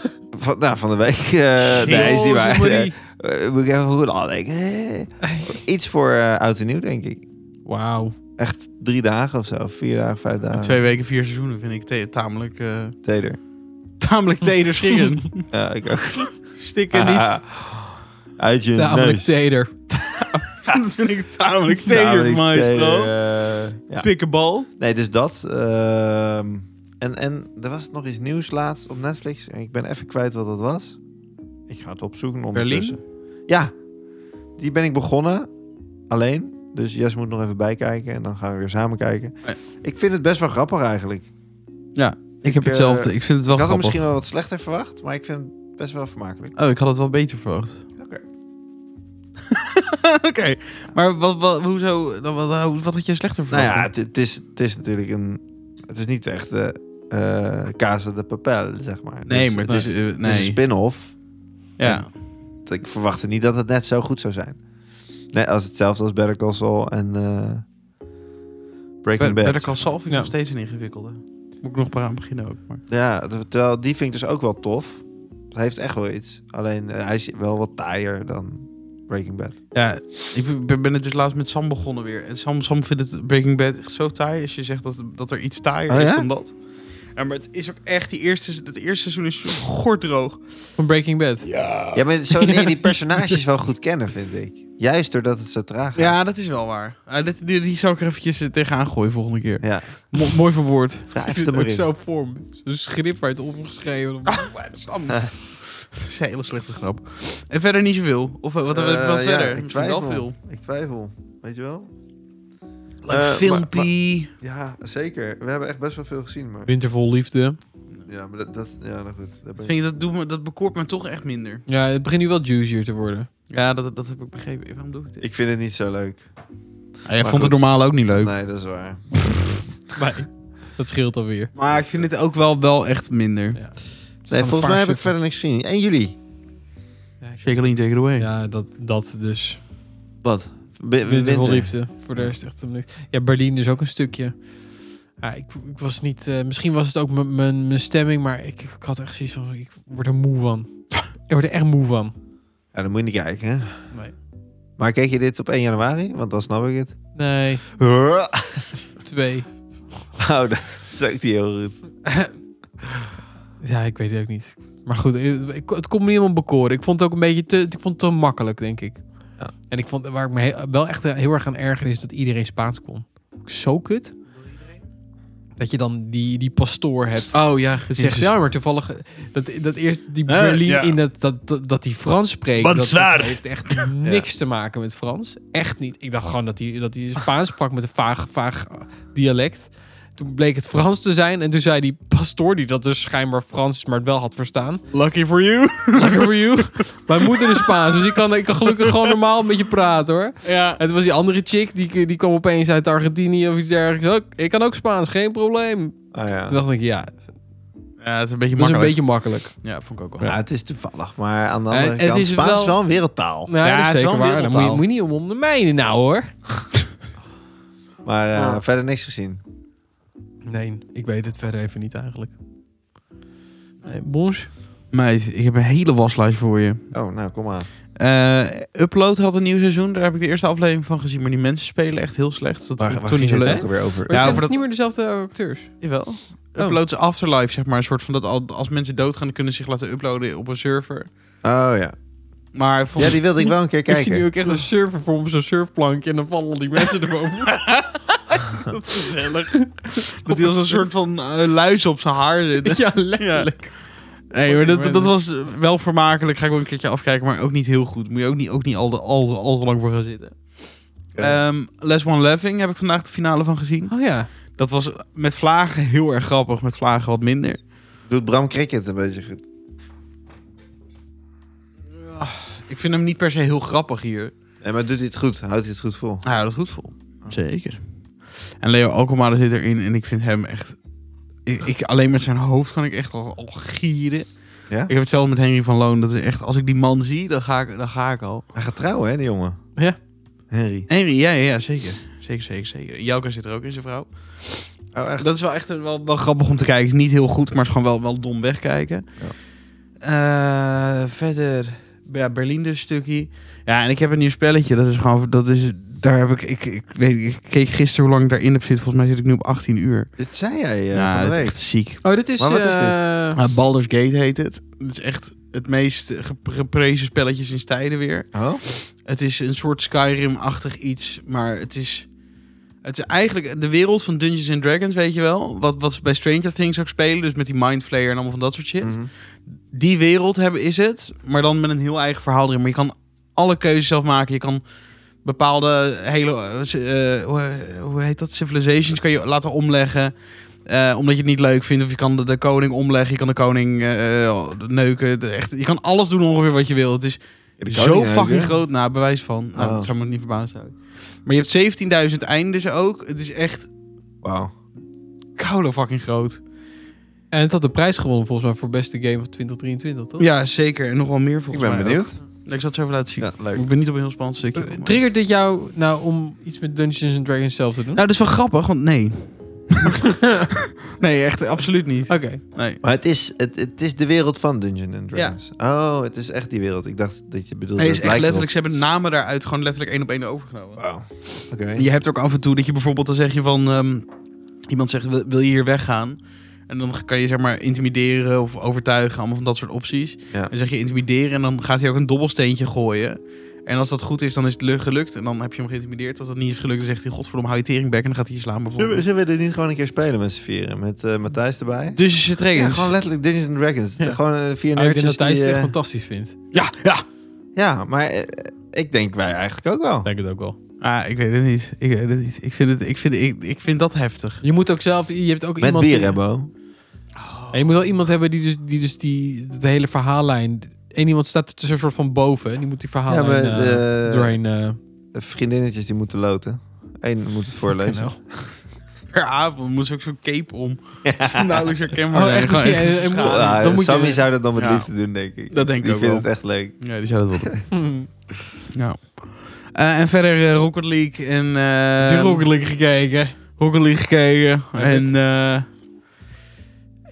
[SPEAKER 2] van, nou, van de week. eh nee, is niet waar.
[SPEAKER 3] Jozef
[SPEAKER 2] Eh,
[SPEAKER 3] Marie.
[SPEAKER 2] eh, moet ik even goed nadenken. Eh, Iets voor eh, oud en nieuw, denk ik.
[SPEAKER 3] Wauw.
[SPEAKER 2] Echt drie dagen of zo. Vier dagen, vijf dagen.
[SPEAKER 1] Twee weken, vier seizoenen vind ik te- tamelijk, eh
[SPEAKER 2] Teder.
[SPEAKER 1] tamelijk teder scheren.
[SPEAKER 2] Ja, ik ook.
[SPEAKER 1] Stikken niet.
[SPEAKER 2] Uit je
[SPEAKER 3] Tamelijk
[SPEAKER 2] neus.
[SPEAKER 3] teder.
[SPEAKER 1] Dat vind ik tamelijk teder,
[SPEAKER 2] Tamelijk
[SPEAKER 1] maestro.
[SPEAKER 2] teder, eh, ja.
[SPEAKER 1] Pikkenbal.
[SPEAKER 2] Nee, dus dat. ehm, en, en er was nog iets nieuws laatst op Netflix. En ik ben even kwijt wat dat was. Ik ga het opzoeken ondertussen. Ja, die ben ik begonnen. Alleen. Dus Jess moet nog even bijkijken. En dan gaan we weer samen kijken.
[SPEAKER 1] Nee.
[SPEAKER 2] Ik vind het best wel grappig eigenlijk.
[SPEAKER 1] Ik heb
[SPEAKER 2] eh,
[SPEAKER 1] hetzelfde. Ik vind het wel
[SPEAKER 2] ik had het
[SPEAKER 1] grappig.
[SPEAKER 2] misschien wel wat slechter verwacht. Maar ik vind het best wel vermakelijk.
[SPEAKER 1] Oh, ik had het wel beter verwacht.
[SPEAKER 2] Oké.
[SPEAKER 1] Oké, maar wat, wat, hoezo, dan wat, hoe- wat had jij slechter
[SPEAKER 2] Nou
[SPEAKER 1] verwacht?
[SPEAKER 2] ja, het, het is, het is natuurlijk een... Het is niet echt eh eh, Casa de Papel, zeg maar.
[SPEAKER 1] nee,
[SPEAKER 2] Dus
[SPEAKER 1] maar het is... eh,
[SPEAKER 2] het is een
[SPEAKER 1] nee.
[SPEAKER 2] spin-off.
[SPEAKER 1] ja.
[SPEAKER 2] ik verwachtte niet dat het net zo goed zou zijn. Net als hetzelfde als Better Call Saul en eh,
[SPEAKER 1] Be-
[SPEAKER 2] Breaking Bad.
[SPEAKER 1] Better Call Saul vind ik
[SPEAKER 3] Ja.
[SPEAKER 1] nog steeds een ingewikkelde. Moet ik nog maar aan beginnen ook. Maar.
[SPEAKER 2] Ja, ter- terwijl die vind ik dus ook wel tof. Het heeft echt wel iets. Alleen eh, hij is wel wat taaier dan Breaking Bad.
[SPEAKER 1] Ja, ik ben, ben het dus laatst met Sam begonnen weer. En Sam, Sam vindt het Breaking Bad echt zo taai. Als je zegt dat, dat er iets taaier
[SPEAKER 2] Oh,
[SPEAKER 1] is
[SPEAKER 2] ja?
[SPEAKER 1] dan dat. Ja, maar het is ook echt, die eerste, het eerste seizoen is zo gordroog.
[SPEAKER 3] Van Breaking Bad.
[SPEAKER 2] Ja, maar zo leer je die personages wel goed kennen, vind ik. Juist doordat het zo traag gaat.
[SPEAKER 1] Ja, dat is wel waar. Ah, dit, die, die zal ik er eventjes eh, tegenaan gooien volgende keer.
[SPEAKER 2] Ja,
[SPEAKER 1] Mo- mooi verwoord.
[SPEAKER 2] ja
[SPEAKER 3] Ik
[SPEAKER 2] heeft
[SPEAKER 3] vind
[SPEAKER 2] hem
[SPEAKER 3] het ook
[SPEAKER 2] erin.
[SPEAKER 3] zo vorm. Zo'n schrift waar het opgeschreven.
[SPEAKER 1] Dat is een hele slechte grap. En verder niet zoveel. Of eh, wat, wat, wat
[SPEAKER 2] Eh, ja,
[SPEAKER 1] verder?
[SPEAKER 2] ik
[SPEAKER 1] Misschien
[SPEAKER 2] twijfel.
[SPEAKER 1] wel veel.
[SPEAKER 2] Ik twijfel. Weet je wel?
[SPEAKER 1] Leuk
[SPEAKER 2] Eh,
[SPEAKER 1] filmpie.
[SPEAKER 2] Ja, zeker. We hebben echt best wel veel gezien. Maar...
[SPEAKER 3] Wintervol liefde.
[SPEAKER 2] Ja, maar dat... dat ja, nou goed. Daar ben
[SPEAKER 1] Dat
[SPEAKER 2] ik-
[SPEAKER 1] Vind ik, dat, doet me, dat bekoort me toch echt minder.
[SPEAKER 3] Ja, het begint nu wel juicier te worden.
[SPEAKER 1] Ja, dat, dat heb ik begrepen. Waarom doe ik dit?
[SPEAKER 2] Ik vind het niet zo leuk.
[SPEAKER 1] Hij
[SPEAKER 2] vond het
[SPEAKER 1] normaal ook niet leuk.
[SPEAKER 2] Nee, dat is waar.
[SPEAKER 3] Nee. Dat scheelt alweer.
[SPEAKER 1] Maar ik vind het ook wel, wel echt minder.
[SPEAKER 2] Nee,
[SPEAKER 3] Van
[SPEAKER 2] volgens
[SPEAKER 3] een
[SPEAKER 2] mij
[SPEAKER 3] paar
[SPEAKER 2] heb ik verder niks gezien. En jullie?
[SPEAKER 3] Ja, ik-
[SPEAKER 1] Shake a lean, take it away.
[SPEAKER 3] Ja, dat, dat dus.
[SPEAKER 2] Wat? Wi-
[SPEAKER 3] Wintervol
[SPEAKER 2] winter.
[SPEAKER 3] liefde. Voor de rest echt hem niks. Ja, Berlijn dus ook een stukje. Ja, ik, ik was niet... eh, misschien was het ook mijn- mijn mijn stemming, maar ik, ik had echt zoiets van... Ik word er moe van. ik word er echt moe van.
[SPEAKER 2] Ja, dan moet je niet kijken, hè?
[SPEAKER 3] Nee.
[SPEAKER 2] Maar keek je dit op 1 januari? Want dan snap ik het.
[SPEAKER 3] Nee,
[SPEAKER 2] Oh,
[SPEAKER 3] twee.
[SPEAKER 2] dat is ook niet heel goed.
[SPEAKER 3] Ja, ik weet het ook niet. Maar goed, eh, ik- het kon me niet helemaal bekoren. Ik vond het ook een beetje te, ik vond het te makkelijk, denk ik.
[SPEAKER 2] Ja.
[SPEAKER 3] En ik vond, waar ik me he- wel echt heel erg aan erger is dat iedereen Spaans kon. Zo kut. Dat je dan die, die pastoor hebt.
[SPEAKER 1] Oh ja.
[SPEAKER 3] Dat zegt, ja, maar toevallig eh, dat, dat eerst die
[SPEAKER 1] Eh,
[SPEAKER 3] Berlin
[SPEAKER 1] ja.
[SPEAKER 3] in dat, dat, dat, dat die Frans spreekt.
[SPEAKER 1] Wat
[SPEAKER 3] dat,
[SPEAKER 1] zwaar.
[SPEAKER 3] dat heeft echt niks te maken met Frans. Echt niet. Ik dacht gewoon dat hij dat die Spaans sprak met een vaag, vaag eh, dialect. Toen bleek het Frans te zijn. En toen zei die pastoor, die dat dus schijnbaar Frans is, maar het wel had verstaan.
[SPEAKER 1] Lucky for you.
[SPEAKER 3] Lekker voor jou. Mijn moeder is Spaans, dus ik kan, ik kan gelukkig gewoon normaal met je praten hoor.
[SPEAKER 1] Ja.
[SPEAKER 3] En toen was die andere chick, die, die kwam opeens uit Argentinië of iets dergelijks. Ook, Ik kan ook Spaans, geen probleem.
[SPEAKER 2] Oh, ja.
[SPEAKER 3] Toen dacht ik, ja,
[SPEAKER 1] ja, het is een beetje
[SPEAKER 3] dat is een
[SPEAKER 1] makkelijk.
[SPEAKER 3] beetje makkelijk.
[SPEAKER 1] Ja, vond ik ook wel.
[SPEAKER 2] Ja, het is toevallig, maar aan de
[SPEAKER 3] Eh,
[SPEAKER 2] andere
[SPEAKER 3] het
[SPEAKER 2] kant...
[SPEAKER 3] is
[SPEAKER 2] Spaans
[SPEAKER 3] wel-
[SPEAKER 2] is wel een wereldtaal.
[SPEAKER 3] Nou,
[SPEAKER 1] Ja,
[SPEAKER 3] ja,
[SPEAKER 1] het
[SPEAKER 3] dat
[SPEAKER 1] is
[SPEAKER 3] is
[SPEAKER 1] wel een
[SPEAKER 3] zeker waar. Dan moet je,
[SPEAKER 1] wereldtaal.
[SPEAKER 3] moet je niet om ondermijnen nou hoor.
[SPEAKER 2] Maar eh,
[SPEAKER 1] Ja.
[SPEAKER 2] verder niks gezien.
[SPEAKER 3] Nee, ik weet het verder even niet eigenlijk. Nee, bons.
[SPEAKER 1] Meid, ik heb een hele waslijst voor je.
[SPEAKER 2] Oh, nou, kom aan.
[SPEAKER 1] Eh, Upload had een nieuw seizoen. Daar heb ik de eerste aflevering van gezien. Maar die mensen spelen echt heel slecht. Dat vond ik toen niet zo
[SPEAKER 2] het
[SPEAKER 1] leuk.
[SPEAKER 2] ook alweer over?
[SPEAKER 1] Ja,
[SPEAKER 3] Ja,
[SPEAKER 1] voor
[SPEAKER 3] het
[SPEAKER 1] dat-
[SPEAKER 3] niet meer dezelfde acteurs.
[SPEAKER 1] Jawel. Upload is afterlife, zeg maar. Een soort van dat al- als mensen doodgaan, dan kunnen ze zich laten uploaden op een server.
[SPEAKER 2] Oh ja.
[SPEAKER 1] Maar
[SPEAKER 2] Ja,
[SPEAKER 1] volgens
[SPEAKER 2] die wilde ik wel een keer
[SPEAKER 3] Ik zie nu
[SPEAKER 2] kijken.
[SPEAKER 3] ook echt een server voor me, zo'n surfplankje. En dan vallen al die mensen erboven.
[SPEAKER 1] dat is gezellig. dat hij als een soort van eh, luis op zijn haar zit.
[SPEAKER 3] ja, letterlijk.
[SPEAKER 1] Nee, maar dat, dat was eh, wel vermakelijk. Ga ik wel een keertje afkijken, maar ook niet heel goed. Moet je ook niet, ook niet al, te- al, te- al te lang voor gaan zitten.
[SPEAKER 2] Ja.
[SPEAKER 1] Ehm, Les One Laughing heb ik vandaag de finale van gezien.
[SPEAKER 3] Oh ja.
[SPEAKER 1] Dat was met vlagen heel erg grappig, met vlagen wat minder.
[SPEAKER 2] Doet Bram Cricket een beetje goed.
[SPEAKER 1] Ik vind hem niet per se heel grappig hier.
[SPEAKER 2] Nee, maar doet hij het goed? Houdt hij het goed vol?
[SPEAKER 1] Hij houdt het goed vol. Zeker. En Leo Alkmaar zit erin en ik vind hem echt... Ik, ik- alleen met zijn hoofd kan ik echt al, al gieren.
[SPEAKER 2] Ja?
[SPEAKER 1] Ik heb hetzelfde met Henry van Loon. Dat is echt, als ik die man zie, dan ga ik, dan ga ik al.
[SPEAKER 2] Hij gaat trouwen, hè, die jongen?
[SPEAKER 3] Ja.
[SPEAKER 2] Henry.
[SPEAKER 1] Henry, ja, ja, ja, zeker. Zeker, zeker, zeker. Jouka zit er ook in, zijn vrouw.
[SPEAKER 2] Oh, echt?
[SPEAKER 1] Dat is wel echt een- wel, wel grappig om te kijken. Is niet heel goed, maar is gewoon wel, wel dom wegkijken. Eh, verder, ja, Berlijn dus stukje. Ja, en ik heb een nieuw spelletje. Dat is gewoon, dat is, daar heb ik, ik, ik weet, niet, ik keek gisteren hoe lang ik daarin heb zitten. Volgens mij zit ik nu op 18 uur.
[SPEAKER 2] Dit zei jij eh,
[SPEAKER 1] ja, dat
[SPEAKER 2] van de
[SPEAKER 1] is
[SPEAKER 2] week.
[SPEAKER 1] echt ziek.
[SPEAKER 3] Oh, dit is...
[SPEAKER 2] Maar wat is dit?
[SPEAKER 3] eh,
[SPEAKER 1] Eh, Baldur's Gate heet het. Het is echt het meest gep- geprezen spelletje sinds tijden weer.
[SPEAKER 2] Oh?
[SPEAKER 1] Het is een soort Skyrim-achtig iets, maar het is... Het is eigenlijk de wereld van Dungeons and Dragons, weet je wel? Wat, wat ze bij Stranger Things ook spelen, dus met die Mindflayer en allemaal van dat soort shit.
[SPEAKER 2] Mhm.
[SPEAKER 1] Die wereld hebben is het, maar dan met een heel eigen verhaal erin. Maar je kan alle keuzes zelf maken. Je kan bepaalde hele... eh, ci- eh, hoe, hoe heet dat? Civilizations kan je laten omleggen. eh, omdat je het niet leuk vindt. Of je kan de, de koning omleggen. Je kan de koning eh, neuken. De- echt, je kan alles doen ongeveer wat je wil. Het is
[SPEAKER 2] Ja, die
[SPEAKER 1] zo
[SPEAKER 2] koning ook,
[SPEAKER 1] fucking
[SPEAKER 2] hè?
[SPEAKER 1] groot. Nou, bewijs van. Nou,
[SPEAKER 2] Oh.
[SPEAKER 1] dat zou me niet verbaasd houden. Maar je hebt 17.000 eindes ook. Het is echt
[SPEAKER 2] Wauw.
[SPEAKER 1] koude fucking groot.
[SPEAKER 3] En het had de prijs gewonnen volgens mij voor beste game van 2023, toch?
[SPEAKER 1] Ja, zeker. En nog wel meer
[SPEAKER 2] Ik
[SPEAKER 1] volgens
[SPEAKER 2] ben
[SPEAKER 1] mij.
[SPEAKER 2] benieuwd.
[SPEAKER 1] ook. Ik zal het zo even laten zien.
[SPEAKER 2] Ja, leuk.
[SPEAKER 1] Ik ben niet op een heel spannend stukje.
[SPEAKER 3] Eh, Triggert dit jou nou om iets met Dungeons and Dragons zelf te doen?
[SPEAKER 1] Nou, dat is wel grappig, want nee. nee, echt absoluut niet.
[SPEAKER 3] Oké. Oh,
[SPEAKER 1] Nee.
[SPEAKER 2] Maar het is, het, het is de wereld van Dungeons and Dragons. Oh, het is echt die wereld. Ik dacht dat je bedoelde...
[SPEAKER 1] Nee, het
[SPEAKER 2] het
[SPEAKER 1] is echt
[SPEAKER 2] lijkt
[SPEAKER 1] letterlijk, ze hebben namen daaruit gewoon letterlijk één op één overgenomen.
[SPEAKER 2] erop. Wauw. Oké.
[SPEAKER 1] En Je hebt ook af en toe dat je bijvoorbeeld dan zeg je van ehm, iemand zegt wil, wil je hier weggaan en dan kan je zeg maar intimideren of overtuigen allemaal van dat soort opties.
[SPEAKER 2] Ja.
[SPEAKER 1] En dan zeg je intimideren en dan gaat hij ook een dobbelsteentje gooien. En als dat goed is, dan is het lu- gelukt. En dan heb je hem geïntimideerd. Als dat niet is gelukt, dan zegt hij... Godverdomme, hou je teringbek. En dan gaat hij je slaan
[SPEAKER 2] Zullen we,
[SPEAKER 1] bijvoorbeeld.
[SPEAKER 2] zullen we dit niet gewoon een keer spelen met z'n vieren? Met eh, Matthijs erbij?
[SPEAKER 1] Dus je zit
[SPEAKER 2] Ja,
[SPEAKER 1] regels.
[SPEAKER 2] gewoon letterlijk Dungeons and Dragons.
[SPEAKER 1] Ja.
[SPEAKER 2] Gewoon eh, vier
[SPEAKER 3] Ah, ik denk
[SPEAKER 2] nerdjes
[SPEAKER 3] dat Thijs
[SPEAKER 2] die,
[SPEAKER 3] het echt
[SPEAKER 2] eh,
[SPEAKER 3] fantastisch vindt.
[SPEAKER 1] Ja, ja.
[SPEAKER 2] Ja, maar eh, ik denk wij eigenlijk ook wel.
[SPEAKER 3] Denk het ook wel.
[SPEAKER 1] Ah, ik weet het niet. Ik weet het niet. Ik vind, het, ik vind, ik, ik vind dat heftig.
[SPEAKER 3] Je moet ook zelf... Je hebt ook
[SPEAKER 2] Met
[SPEAKER 3] iemand...
[SPEAKER 2] bier,
[SPEAKER 3] die-
[SPEAKER 2] hè, Bo?
[SPEAKER 3] En je moet wel iemand hebben die dus die, dus die de hele verhaallijn. Eén iemand staat er tussen een soort van boven. en Die moet die
[SPEAKER 2] Ja,
[SPEAKER 3] verhaallijn
[SPEAKER 2] maar
[SPEAKER 3] eh
[SPEAKER 2] de,
[SPEAKER 3] doorheen. eh,
[SPEAKER 2] de vriendinnetjes die moeten loten. Eén moet het voorlezen.
[SPEAKER 3] kennen.
[SPEAKER 1] Per avond moet ze ook zo'n cape om. Nauwelijks herkenbaar.
[SPEAKER 3] Oh,
[SPEAKER 1] Nee,
[SPEAKER 3] echt?
[SPEAKER 1] gewoon
[SPEAKER 3] Dus je- eh,
[SPEAKER 1] Ja,
[SPEAKER 3] moet-
[SPEAKER 2] Ja,
[SPEAKER 3] dan moet
[SPEAKER 2] Ah, Sammy
[SPEAKER 3] je...
[SPEAKER 2] zou dat dan met
[SPEAKER 1] Ja.
[SPEAKER 2] liefde doen, denk ik.
[SPEAKER 1] Dat denk ik
[SPEAKER 2] Die
[SPEAKER 1] ook
[SPEAKER 2] vindt
[SPEAKER 1] wel.
[SPEAKER 3] Hm.
[SPEAKER 2] het echt leuk.
[SPEAKER 1] Ja, die zou dat wel doen.
[SPEAKER 3] Hmm.
[SPEAKER 1] Ja. Eh, en verder eh, Rocket League en... eh,
[SPEAKER 3] Heb je Rocket League gekeken?
[SPEAKER 1] Rocket League gekeken.
[SPEAKER 3] Ja,
[SPEAKER 1] En eh,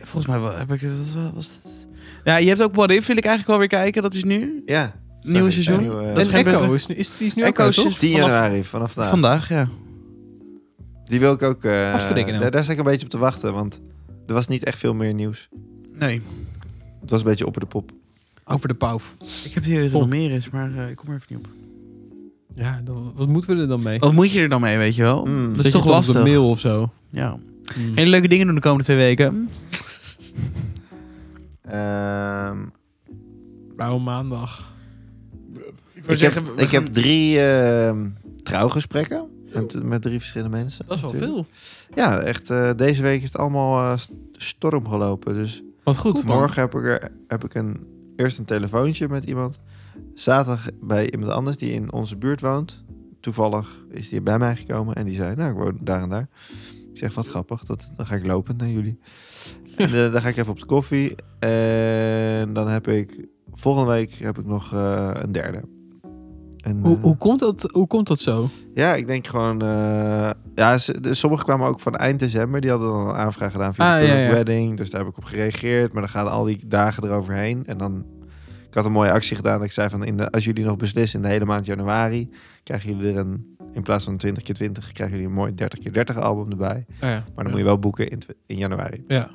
[SPEAKER 1] volgens mij wa- heb ik dat wel- was dat. Ja, je hebt ook What If, wil ik eigenlijk wel weer kijken. Dat is nu.
[SPEAKER 2] Ja.
[SPEAKER 1] Nieuwe
[SPEAKER 2] Zag ik.
[SPEAKER 1] seizoen?
[SPEAKER 2] Een nieuwe-
[SPEAKER 1] Dat is
[SPEAKER 3] En
[SPEAKER 1] geen
[SPEAKER 3] Echo
[SPEAKER 1] burger.
[SPEAKER 3] is nu, is, die is nu
[SPEAKER 1] Echo
[SPEAKER 3] Echo,
[SPEAKER 1] is-
[SPEAKER 3] toch?
[SPEAKER 2] 10
[SPEAKER 1] vanaf-
[SPEAKER 2] januari, vanaf daar.
[SPEAKER 1] Vandaag, ja.
[SPEAKER 2] Die wil ik ook... eh,
[SPEAKER 3] Hartstikke nou.
[SPEAKER 2] daar, daar sta ik een beetje op te wachten, want er was niet echt veel meer nieuws.
[SPEAKER 1] Nee,
[SPEAKER 2] Het was een beetje op de pop.
[SPEAKER 3] Over de pauf.
[SPEAKER 1] ik heb het idee dat er
[SPEAKER 3] Tom.
[SPEAKER 1] nog meer is, maar eh, ik kom er even niet op.
[SPEAKER 3] Ja, dan, wat moeten we er dan mee?
[SPEAKER 1] Wat moet je er dan mee, weet je wel?
[SPEAKER 2] Mm.
[SPEAKER 1] Dat is
[SPEAKER 3] Zet Hmm. je
[SPEAKER 1] toch
[SPEAKER 3] het op de
[SPEAKER 1] lastig. Hm.
[SPEAKER 3] mail of zo.
[SPEAKER 1] Ja.
[SPEAKER 3] Hmm.
[SPEAKER 1] Geen leuke dingen doen de komende twee weken.
[SPEAKER 2] Ehm,
[SPEAKER 3] Blauwe maandag.
[SPEAKER 1] Ik,
[SPEAKER 2] ik heb, ik heb drie ehm, trouwgesprekken met, met drie verschillende mensen.
[SPEAKER 3] Dat is wel
[SPEAKER 2] natuurlijk.
[SPEAKER 3] veel.
[SPEAKER 2] Ja, echt. eh, deze week is het allemaal eh, st- storm gelopen. Dus
[SPEAKER 3] Wat goed, man.
[SPEAKER 2] morgen heb ik, er, heb ik een, eerst een telefoontje met iemand. Zaterdag bij iemand anders die in onze buurt woont. Toevallig is die bij mij gekomen en die zei, nou, ik woon daar en daar. Ik zeg, wat grappig, dat, dan ga ik lopend naar jullie. En, eh, dan ga ik even op de koffie. En dan heb ik, volgende week heb ik nog eh, een derde. En,
[SPEAKER 3] Hoe,
[SPEAKER 2] eh,
[SPEAKER 3] hoe, komt dat, hoe komt dat zo?
[SPEAKER 2] Ja, ik denk gewoon... eh, ja, ze- de- sommigen kwamen ook van eind december. Die hadden dan een aanvraag gedaan via
[SPEAKER 3] Ah,
[SPEAKER 2] de
[SPEAKER 3] ja,
[SPEAKER 2] Public
[SPEAKER 3] ja.
[SPEAKER 2] wedding. Dus daar heb ik op gereageerd. Maar dan gaan al die dagen eroverheen. En dan... Ik had een mooie actie gedaan. Dat ik zei van, in de, als jullie nog beslissen in de hele maand januari... krijgen jullie er een... In plaats van 20 keer 20 krijgen jullie een mooi 30 keer 30 album erbij.
[SPEAKER 3] Ah, ja.
[SPEAKER 2] Maar dan moet je wel boeken in, tw- in januari.
[SPEAKER 3] Ja.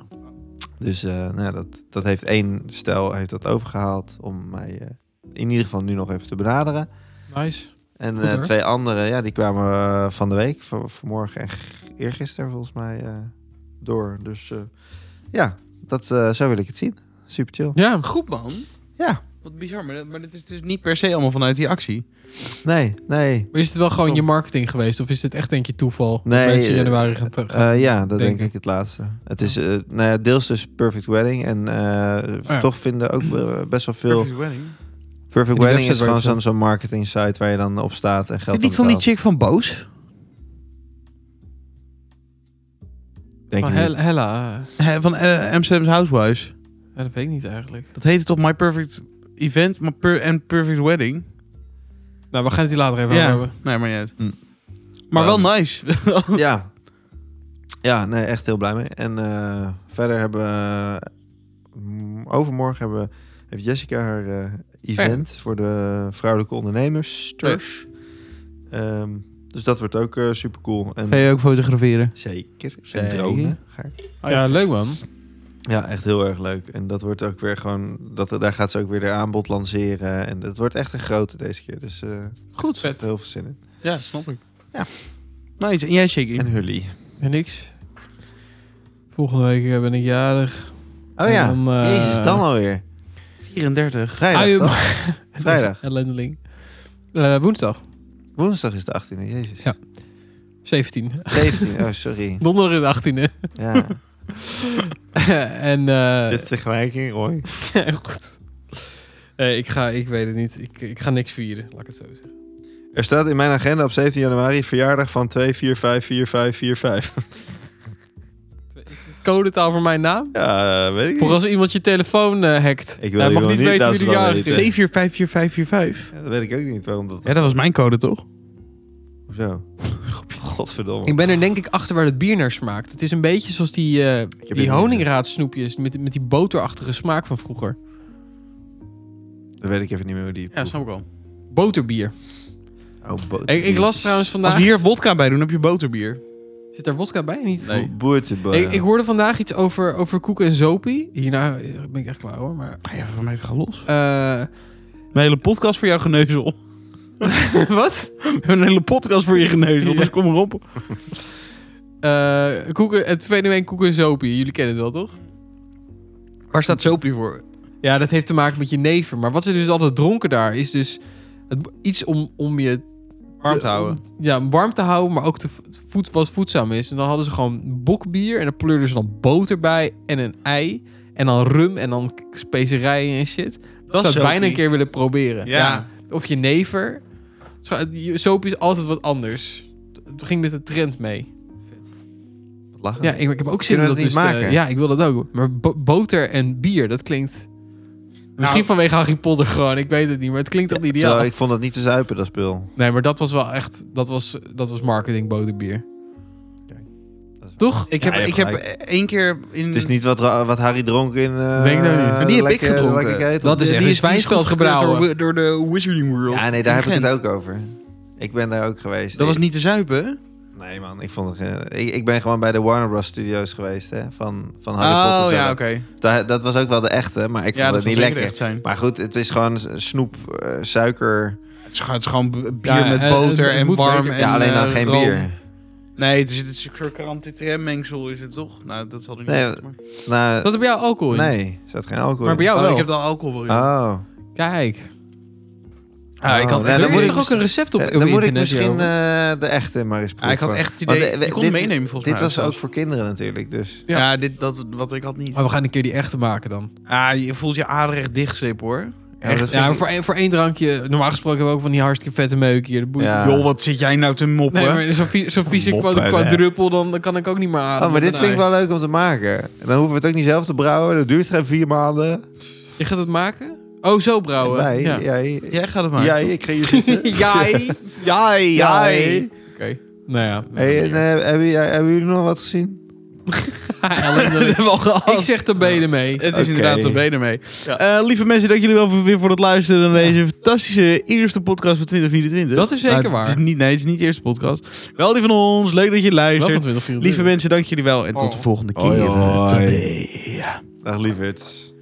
[SPEAKER 2] Dus eh, nou, ja, dat, dat heeft één stel heeft dat overgehaald om mij eh, in ieder geval nu nog even te benaderen.
[SPEAKER 3] Nice.
[SPEAKER 2] En
[SPEAKER 3] Goed,
[SPEAKER 2] eh,
[SPEAKER 3] hoor.
[SPEAKER 2] twee andere, ja, die kwamen eh, van de week, van, vanmorgen en g- eergisteren volgens mij eh, door. Dus eh, ja, dat, eh, zo wil ik het zien. Super chill.
[SPEAKER 3] Ja.
[SPEAKER 1] Goed, man.
[SPEAKER 2] Ja.
[SPEAKER 1] Wat bizar, maar, maar dit is dus niet per se allemaal vanuit die actie.
[SPEAKER 2] Nee, nee.
[SPEAKER 3] Maar is het wel gewoon
[SPEAKER 1] Zo.
[SPEAKER 3] je marketing geweest? Of is dit echt denk je toeval? dat
[SPEAKER 2] Nee,
[SPEAKER 3] mensen in
[SPEAKER 2] eh,
[SPEAKER 3] januari gaan terug.
[SPEAKER 2] Eh, ja, dat denk,
[SPEAKER 3] Denk
[SPEAKER 2] ik het laatste. Het is eh, nou ja, deels dus Perfect Wedding. En eh,
[SPEAKER 3] Oh ja.
[SPEAKER 2] toch vinden ook eh, best wel veel...
[SPEAKER 1] Perfect wedding.
[SPEAKER 2] Perfect
[SPEAKER 3] die
[SPEAKER 2] Wedding
[SPEAKER 3] website
[SPEAKER 2] is
[SPEAKER 3] waar je
[SPEAKER 2] gewoon
[SPEAKER 3] op
[SPEAKER 2] zo'n zo'n marketing site waar je dan op staat en
[SPEAKER 1] Is dit
[SPEAKER 2] geld
[SPEAKER 1] niet
[SPEAKER 2] aan
[SPEAKER 1] van die
[SPEAKER 2] betaalt.
[SPEAKER 1] chick van Boos?
[SPEAKER 2] Denk
[SPEAKER 3] Van
[SPEAKER 2] ik niet.
[SPEAKER 3] Oh, Hel- Hella. eh,
[SPEAKER 1] Hè, Van eh, Amsterdam's Housewives.
[SPEAKER 3] ja, dat weet ik niet eigenlijk.
[SPEAKER 1] Dat heette toch My Perfect Event maar per and Perfect Wedding?
[SPEAKER 3] Nou, we gaan het hier later even
[SPEAKER 1] ja,
[SPEAKER 3] over hebben.
[SPEAKER 1] nee, maar niet uit.
[SPEAKER 2] Hm.
[SPEAKER 1] Maar wel
[SPEAKER 2] Ehm,
[SPEAKER 1] nice.
[SPEAKER 2] Ja. Ja, nee, echt heel blij mee. En eh, verder hebben we... mm, Overmorgen hebben we, heeft Jessica haar eh, event voor de vrouwelijke ondernemers. Ehm, dus dat wordt ook super cool. En
[SPEAKER 1] Ga je ook fotograferen?
[SPEAKER 2] Zeker. En
[SPEAKER 1] Zeker.
[SPEAKER 2] dronen. Ga ik.
[SPEAKER 3] Oh, ja, leuk man.
[SPEAKER 2] Ja, echt heel erg leuk. En dat wordt ook weer gewoon... Dat, daar gaat ze ook weer haar aanbod lanceren. En dat wordt echt een grote deze keer. Dus eh
[SPEAKER 3] Goed.
[SPEAKER 2] er zit heel veel zin in.
[SPEAKER 1] Ja, snap ik.
[SPEAKER 2] Ja.
[SPEAKER 1] Nice. En jij, Shaky?
[SPEAKER 2] En Hully.
[SPEAKER 3] En niks. Volgende week eh, ben ik jarig.
[SPEAKER 2] Oh
[SPEAKER 3] En
[SPEAKER 2] ja,
[SPEAKER 3] dan, eh,
[SPEAKER 2] jezus, dan alweer.
[SPEAKER 1] 34.
[SPEAKER 2] Vrijdag,
[SPEAKER 3] Ui,
[SPEAKER 2] toch? Vrijdag.
[SPEAKER 3] Ellendeling. Eh, woensdag.
[SPEAKER 2] Woensdag is de 18e, jezus.
[SPEAKER 3] Ja. 17.
[SPEAKER 2] 17, oh sorry.
[SPEAKER 3] Donderdag de 18e.
[SPEAKER 2] Ja.
[SPEAKER 3] en eh,
[SPEAKER 2] Dit tegelijk in, Roy.
[SPEAKER 3] ja, goed. Eh, ik ga, ik weet het niet. Ik, ik ga niks vieren, laat ik het zo zeggen.
[SPEAKER 2] Er staat in mijn agenda op 17 januari verjaardag van 2454545.
[SPEAKER 3] Codetaal voor mijn naam.
[SPEAKER 2] Ja, eh, weet ik
[SPEAKER 3] Voor
[SPEAKER 2] niet.
[SPEAKER 3] als iemand je telefoon eh, hackt.
[SPEAKER 2] Ik wil
[SPEAKER 3] Hij
[SPEAKER 2] je
[SPEAKER 3] mag
[SPEAKER 2] wel
[SPEAKER 3] niet
[SPEAKER 2] niet
[SPEAKER 3] weten
[SPEAKER 2] dat
[SPEAKER 3] wie
[SPEAKER 2] ze
[SPEAKER 3] de
[SPEAKER 2] dat
[SPEAKER 3] jarig
[SPEAKER 2] weten.
[SPEAKER 3] is.
[SPEAKER 1] 745545.
[SPEAKER 2] Ja, dat weet ik ook niet waarom dat...
[SPEAKER 1] Ja, dat was mijn code, toch?
[SPEAKER 2] Hoezo? Godverdomme.
[SPEAKER 3] Ik ben er denk ik achter waar het bier naar smaakt. Het is een beetje zoals die, eh,
[SPEAKER 2] dit
[SPEAKER 3] die
[SPEAKER 2] niet
[SPEAKER 3] honingraadsnoepjes met, met die boterachtige smaak van vroeger.
[SPEAKER 2] Dat weet ik even niet meer hoe die...
[SPEAKER 1] Ja, snap ik al.
[SPEAKER 3] Boterbier.
[SPEAKER 2] Oh, boter.
[SPEAKER 3] Ik, ik las trouwens
[SPEAKER 1] Als
[SPEAKER 3] vandaag...
[SPEAKER 1] we hier vodka bij doen, heb je boterbier.
[SPEAKER 3] Zit daar wodka bij? Niet.
[SPEAKER 1] Nee. eh.
[SPEAKER 2] Bo- boertebal.
[SPEAKER 3] Ik, ik hoorde vandaag iets over, over koeken en zopie. Hierna eh, ben ik echt klaar hoor. Maar,
[SPEAKER 1] Ja, van mij gaat los.
[SPEAKER 3] eh,
[SPEAKER 1] Een hele podcast voor jou geneuzel.
[SPEAKER 3] wat?
[SPEAKER 1] We hebben een hele podcast voor je geneuzel,
[SPEAKER 3] Ja.
[SPEAKER 1] dus kom erop.
[SPEAKER 3] Eh, koeken, het fenomeen koeken en zopie. Jullie kennen het wel toch?
[SPEAKER 1] Waar staat Soapie voor?
[SPEAKER 3] Ja, dat heeft te maken met je neven. Maar wat ze dus altijd dronken daar is dus het, iets om, om je
[SPEAKER 1] Warm te
[SPEAKER 3] eh,
[SPEAKER 1] houden.
[SPEAKER 3] om- ja, om warm te houden, maar ook te vo- voed, wat voedzaam is. En dan hadden ze gewoon bokbier en dan pleurden ze dan boter bij en een ei. En dan rum en dan k- specerijen en shit. Dat zou ik bijna een keer willen proberen.
[SPEAKER 1] Ja.
[SPEAKER 3] Of je never. Soap is altijd wat anders. T- Het ging met de trend mee.
[SPEAKER 2] Lachen.
[SPEAKER 3] Ja, ik, ik heb ook zin
[SPEAKER 2] Kunnen
[SPEAKER 3] in
[SPEAKER 2] we
[SPEAKER 3] dat
[SPEAKER 2] dat niet
[SPEAKER 3] dus te-
[SPEAKER 2] maken?
[SPEAKER 3] ja, ik wil dat ook. Maar bo- boter en bier, dat klinkt... Misschien vanwege Harry Potter gewoon, ik weet het niet. Maar het klinkt toch ideaal.
[SPEAKER 2] Terwijl ik vond het niet te zuipen, dat spul.
[SPEAKER 3] Nee, maar dat was wel echt... Dat was, dat was marketing boterbier.
[SPEAKER 2] Kijk, dat is-
[SPEAKER 3] Toch?
[SPEAKER 1] Ik
[SPEAKER 2] Ja,
[SPEAKER 1] heb,
[SPEAKER 2] je
[SPEAKER 1] ik
[SPEAKER 2] hebt
[SPEAKER 1] heb
[SPEAKER 2] gelijk.
[SPEAKER 1] één keer in...
[SPEAKER 2] Het is
[SPEAKER 3] Mm.
[SPEAKER 2] niet wat, Ra- wat Harry dronk in... eh,
[SPEAKER 3] Denk dat nou niet. Maar
[SPEAKER 1] die heb
[SPEAKER 2] lekker-
[SPEAKER 1] ik gedronken.
[SPEAKER 2] lekker ketel.
[SPEAKER 3] Dat is echt een Zwijnsveld
[SPEAKER 1] goedgekeurd
[SPEAKER 3] gebrouwen.
[SPEAKER 1] Door, door de Wizarding World.
[SPEAKER 2] Ja, nee, daar
[SPEAKER 1] in
[SPEAKER 2] heb ik het
[SPEAKER 1] Gent.
[SPEAKER 2] ook Nou, over. Ik ben daar ook geweest.
[SPEAKER 1] Dat was
[SPEAKER 2] Ik-
[SPEAKER 1] niet te zuipen. hè?
[SPEAKER 2] Nee man, ik vond het... eh, Ik, ik ben gewoon bij de Warner Bros. Studios geweest, hè. Van, van Harry
[SPEAKER 1] Oh
[SPEAKER 2] Potter.
[SPEAKER 1] ja,
[SPEAKER 2] zelf.
[SPEAKER 1] oké.
[SPEAKER 2] Da- dat was ook wel de echte, maar ik
[SPEAKER 1] Ja, dat
[SPEAKER 2] vond het
[SPEAKER 1] zou
[SPEAKER 2] niet
[SPEAKER 1] zeker
[SPEAKER 2] lekker.
[SPEAKER 1] echt zijn.
[SPEAKER 2] Maar goed, het is gewoon s- snoep, eh, suiker.
[SPEAKER 1] Het is gewoon, het is gewoon b- bier
[SPEAKER 3] Ja,
[SPEAKER 1] met
[SPEAKER 3] eh,
[SPEAKER 1] boter
[SPEAKER 3] het
[SPEAKER 1] en
[SPEAKER 3] moet
[SPEAKER 1] warm.
[SPEAKER 3] beter.
[SPEAKER 1] En,
[SPEAKER 2] ja, alleen dan
[SPEAKER 1] eh,
[SPEAKER 2] geen
[SPEAKER 1] room.
[SPEAKER 2] bier.
[SPEAKER 1] Nee, het is het is een krokante trammengsel is het toch? Nou, dat zal er niet
[SPEAKER 2] Nee,
[SPEAKER 1] uit, maar-
[SPEAKER 2] Nou,
[SPEAKER 3] Dat er bij jou alcohol in.
[SPEAKER 2] nee, er zat geen alcohol
[SPEAKER 3] Maar bij
[SPEAKER 2] in.
[SPEAKER 3] jou
[SPEAKER 1] Oh,
[SPEAKER 3] wel.
[SPEAKER 1] ik heb er al alcohol in.
[SPEAKER 2] Oh.
[SPEAKER 3] Kijk.
[SPEAKER 1] Ah, ik had
[SPEAKER 2] Oh,
[SPEAKER 1] echt-
[SPEAKER 2] ja,
[SPEAKER 3] er
[SPEAKER 2] dan
[SPEAKER 3] is
[SPEAKER 2] moet
[SPEAKER 3] toch
[SPEAKER 2] ik-
[SPEAKER 3] ook een recept op,
[SPEAKER 2] Eh,
[SPEAKER 3] op
[SPEAKER 2] dan moet ik
[SPEAKER 3] internet?
[SPEAKER 2] misschien
[SPEAKER 3] Jeroen?
[SPEAKER 2] eh, de echte maar eens
[SPEAKER 1] Ah, ik had
[SPEAKER 2] proeven.
[SPEAKER 1] echt het
[SPEAKER 2] Want,
[SPEAKER 1] idee...
[SPEAKER 2] eh,
[SPEAKER 1] Ik kon
[SPEAKER 2] dit-
[SPEAKER 1] hem meenemen volgens
[SPEAKER 2] Dit
[SPEAKER 1] mij.
[SPEAKER 2] was ook
[SPEAKER 1] zelfs.
[SPEAKER 2] voor kinderen natuurlijk, dus...
[SPEAKER 3] Ja.
[SPEAKER 1] Ja, dit, dat wat ik had niet.
[SPEAKER 3] Maar we gaan een keer die echte maken dan.
[SPEAKER 1] Ah, je voelt je ader echt dichtslip hoor.
[SPEAKER 2] Ja, dat
[SPEAKER 1] Echt.
[SPEAKER 2] vind
[SPEAKER 3] Ja,
[SPEAKER 2] ik-
[SPEAKER 3] maar voor, één- voor één drankje... Normaal gesproken hebben we ook van die hartstikke vette meuk hier. De boeit
[SPEAKER 2] Ja.
[SPEAKER 1] Joh, wat zit jij nou te moppen?
[SPEAKER 3] Nee, maar zo'n vie- zo'n vieze
[SPEAKER 2] Mop,
[SPEAKER 3] kwa-
[SPEAKER 2] hè,
[SPEAKER 3] kwadruppel, dan, dan kan ik ook niet meer ademen.
[SPEAKER 2] Oh, maar dit
[SPEAKER 3] Nee.
[SPEAKER 2] vind ik wel leuk om te maken. Dan hoeven we het ook niet zelf te brouwen. Dat duurt geen vier maanden.
[SPEAKER 3] Je gaat het maken? Oh, zo brouwen.
[SPEAKER 2] Wij,
[SPEAKER 3] ja.
[SPEAKER 2] jij,
[SPEAKER 1] Jij gaat het maken.
[SPEAKER 2] jij,
[SPEAKER 1] toch?
[SPEAKER 2] ik ga hier zitten.
[SPEAKER 1] jij, jij, jij.
[SPEAKER 3] Oké. Nou ja.
[SPEAKER 2] Hey, en, eh, hebben, jij- hebben jullie nog wat gezien?
[SPEAKER 1] Dat hebben we al gehad.
[SPEAKER 3] Ik zeg de benen mee.
[SPEAKER 1] Het is
[SPEAKER 2] Oké.
[SPEAKER 1] inderdaad te benen mee. Eh, lieve mensen, dank jullie wel voor- weer voor het luisteren naar deze fantastische eerste podcast van 2024.
[SPEAKER 3] Dat is zeker
[SPEAKER 1] Nou,
[SPEAKER 3] waar.
[SPEAKER 1] Het is niet, nee, het is niet de eerste podcast. Wel die van ons. Leuk dat je
[SPEAKER 3] Wel van
[SPEAKER 1] luistert.
[SPEAKER 3] 2024.
[SPEAKER 1] Lieve mensen, dank jullie wel en tot
[SPEAKER 3] Oh.
[SPEAKER 1] de volgende keer.
[SPEAKER 2] Hoi, hoi.
[SPEAKER 1] Tabé.
[SPEAKER 2] Dag lieverd.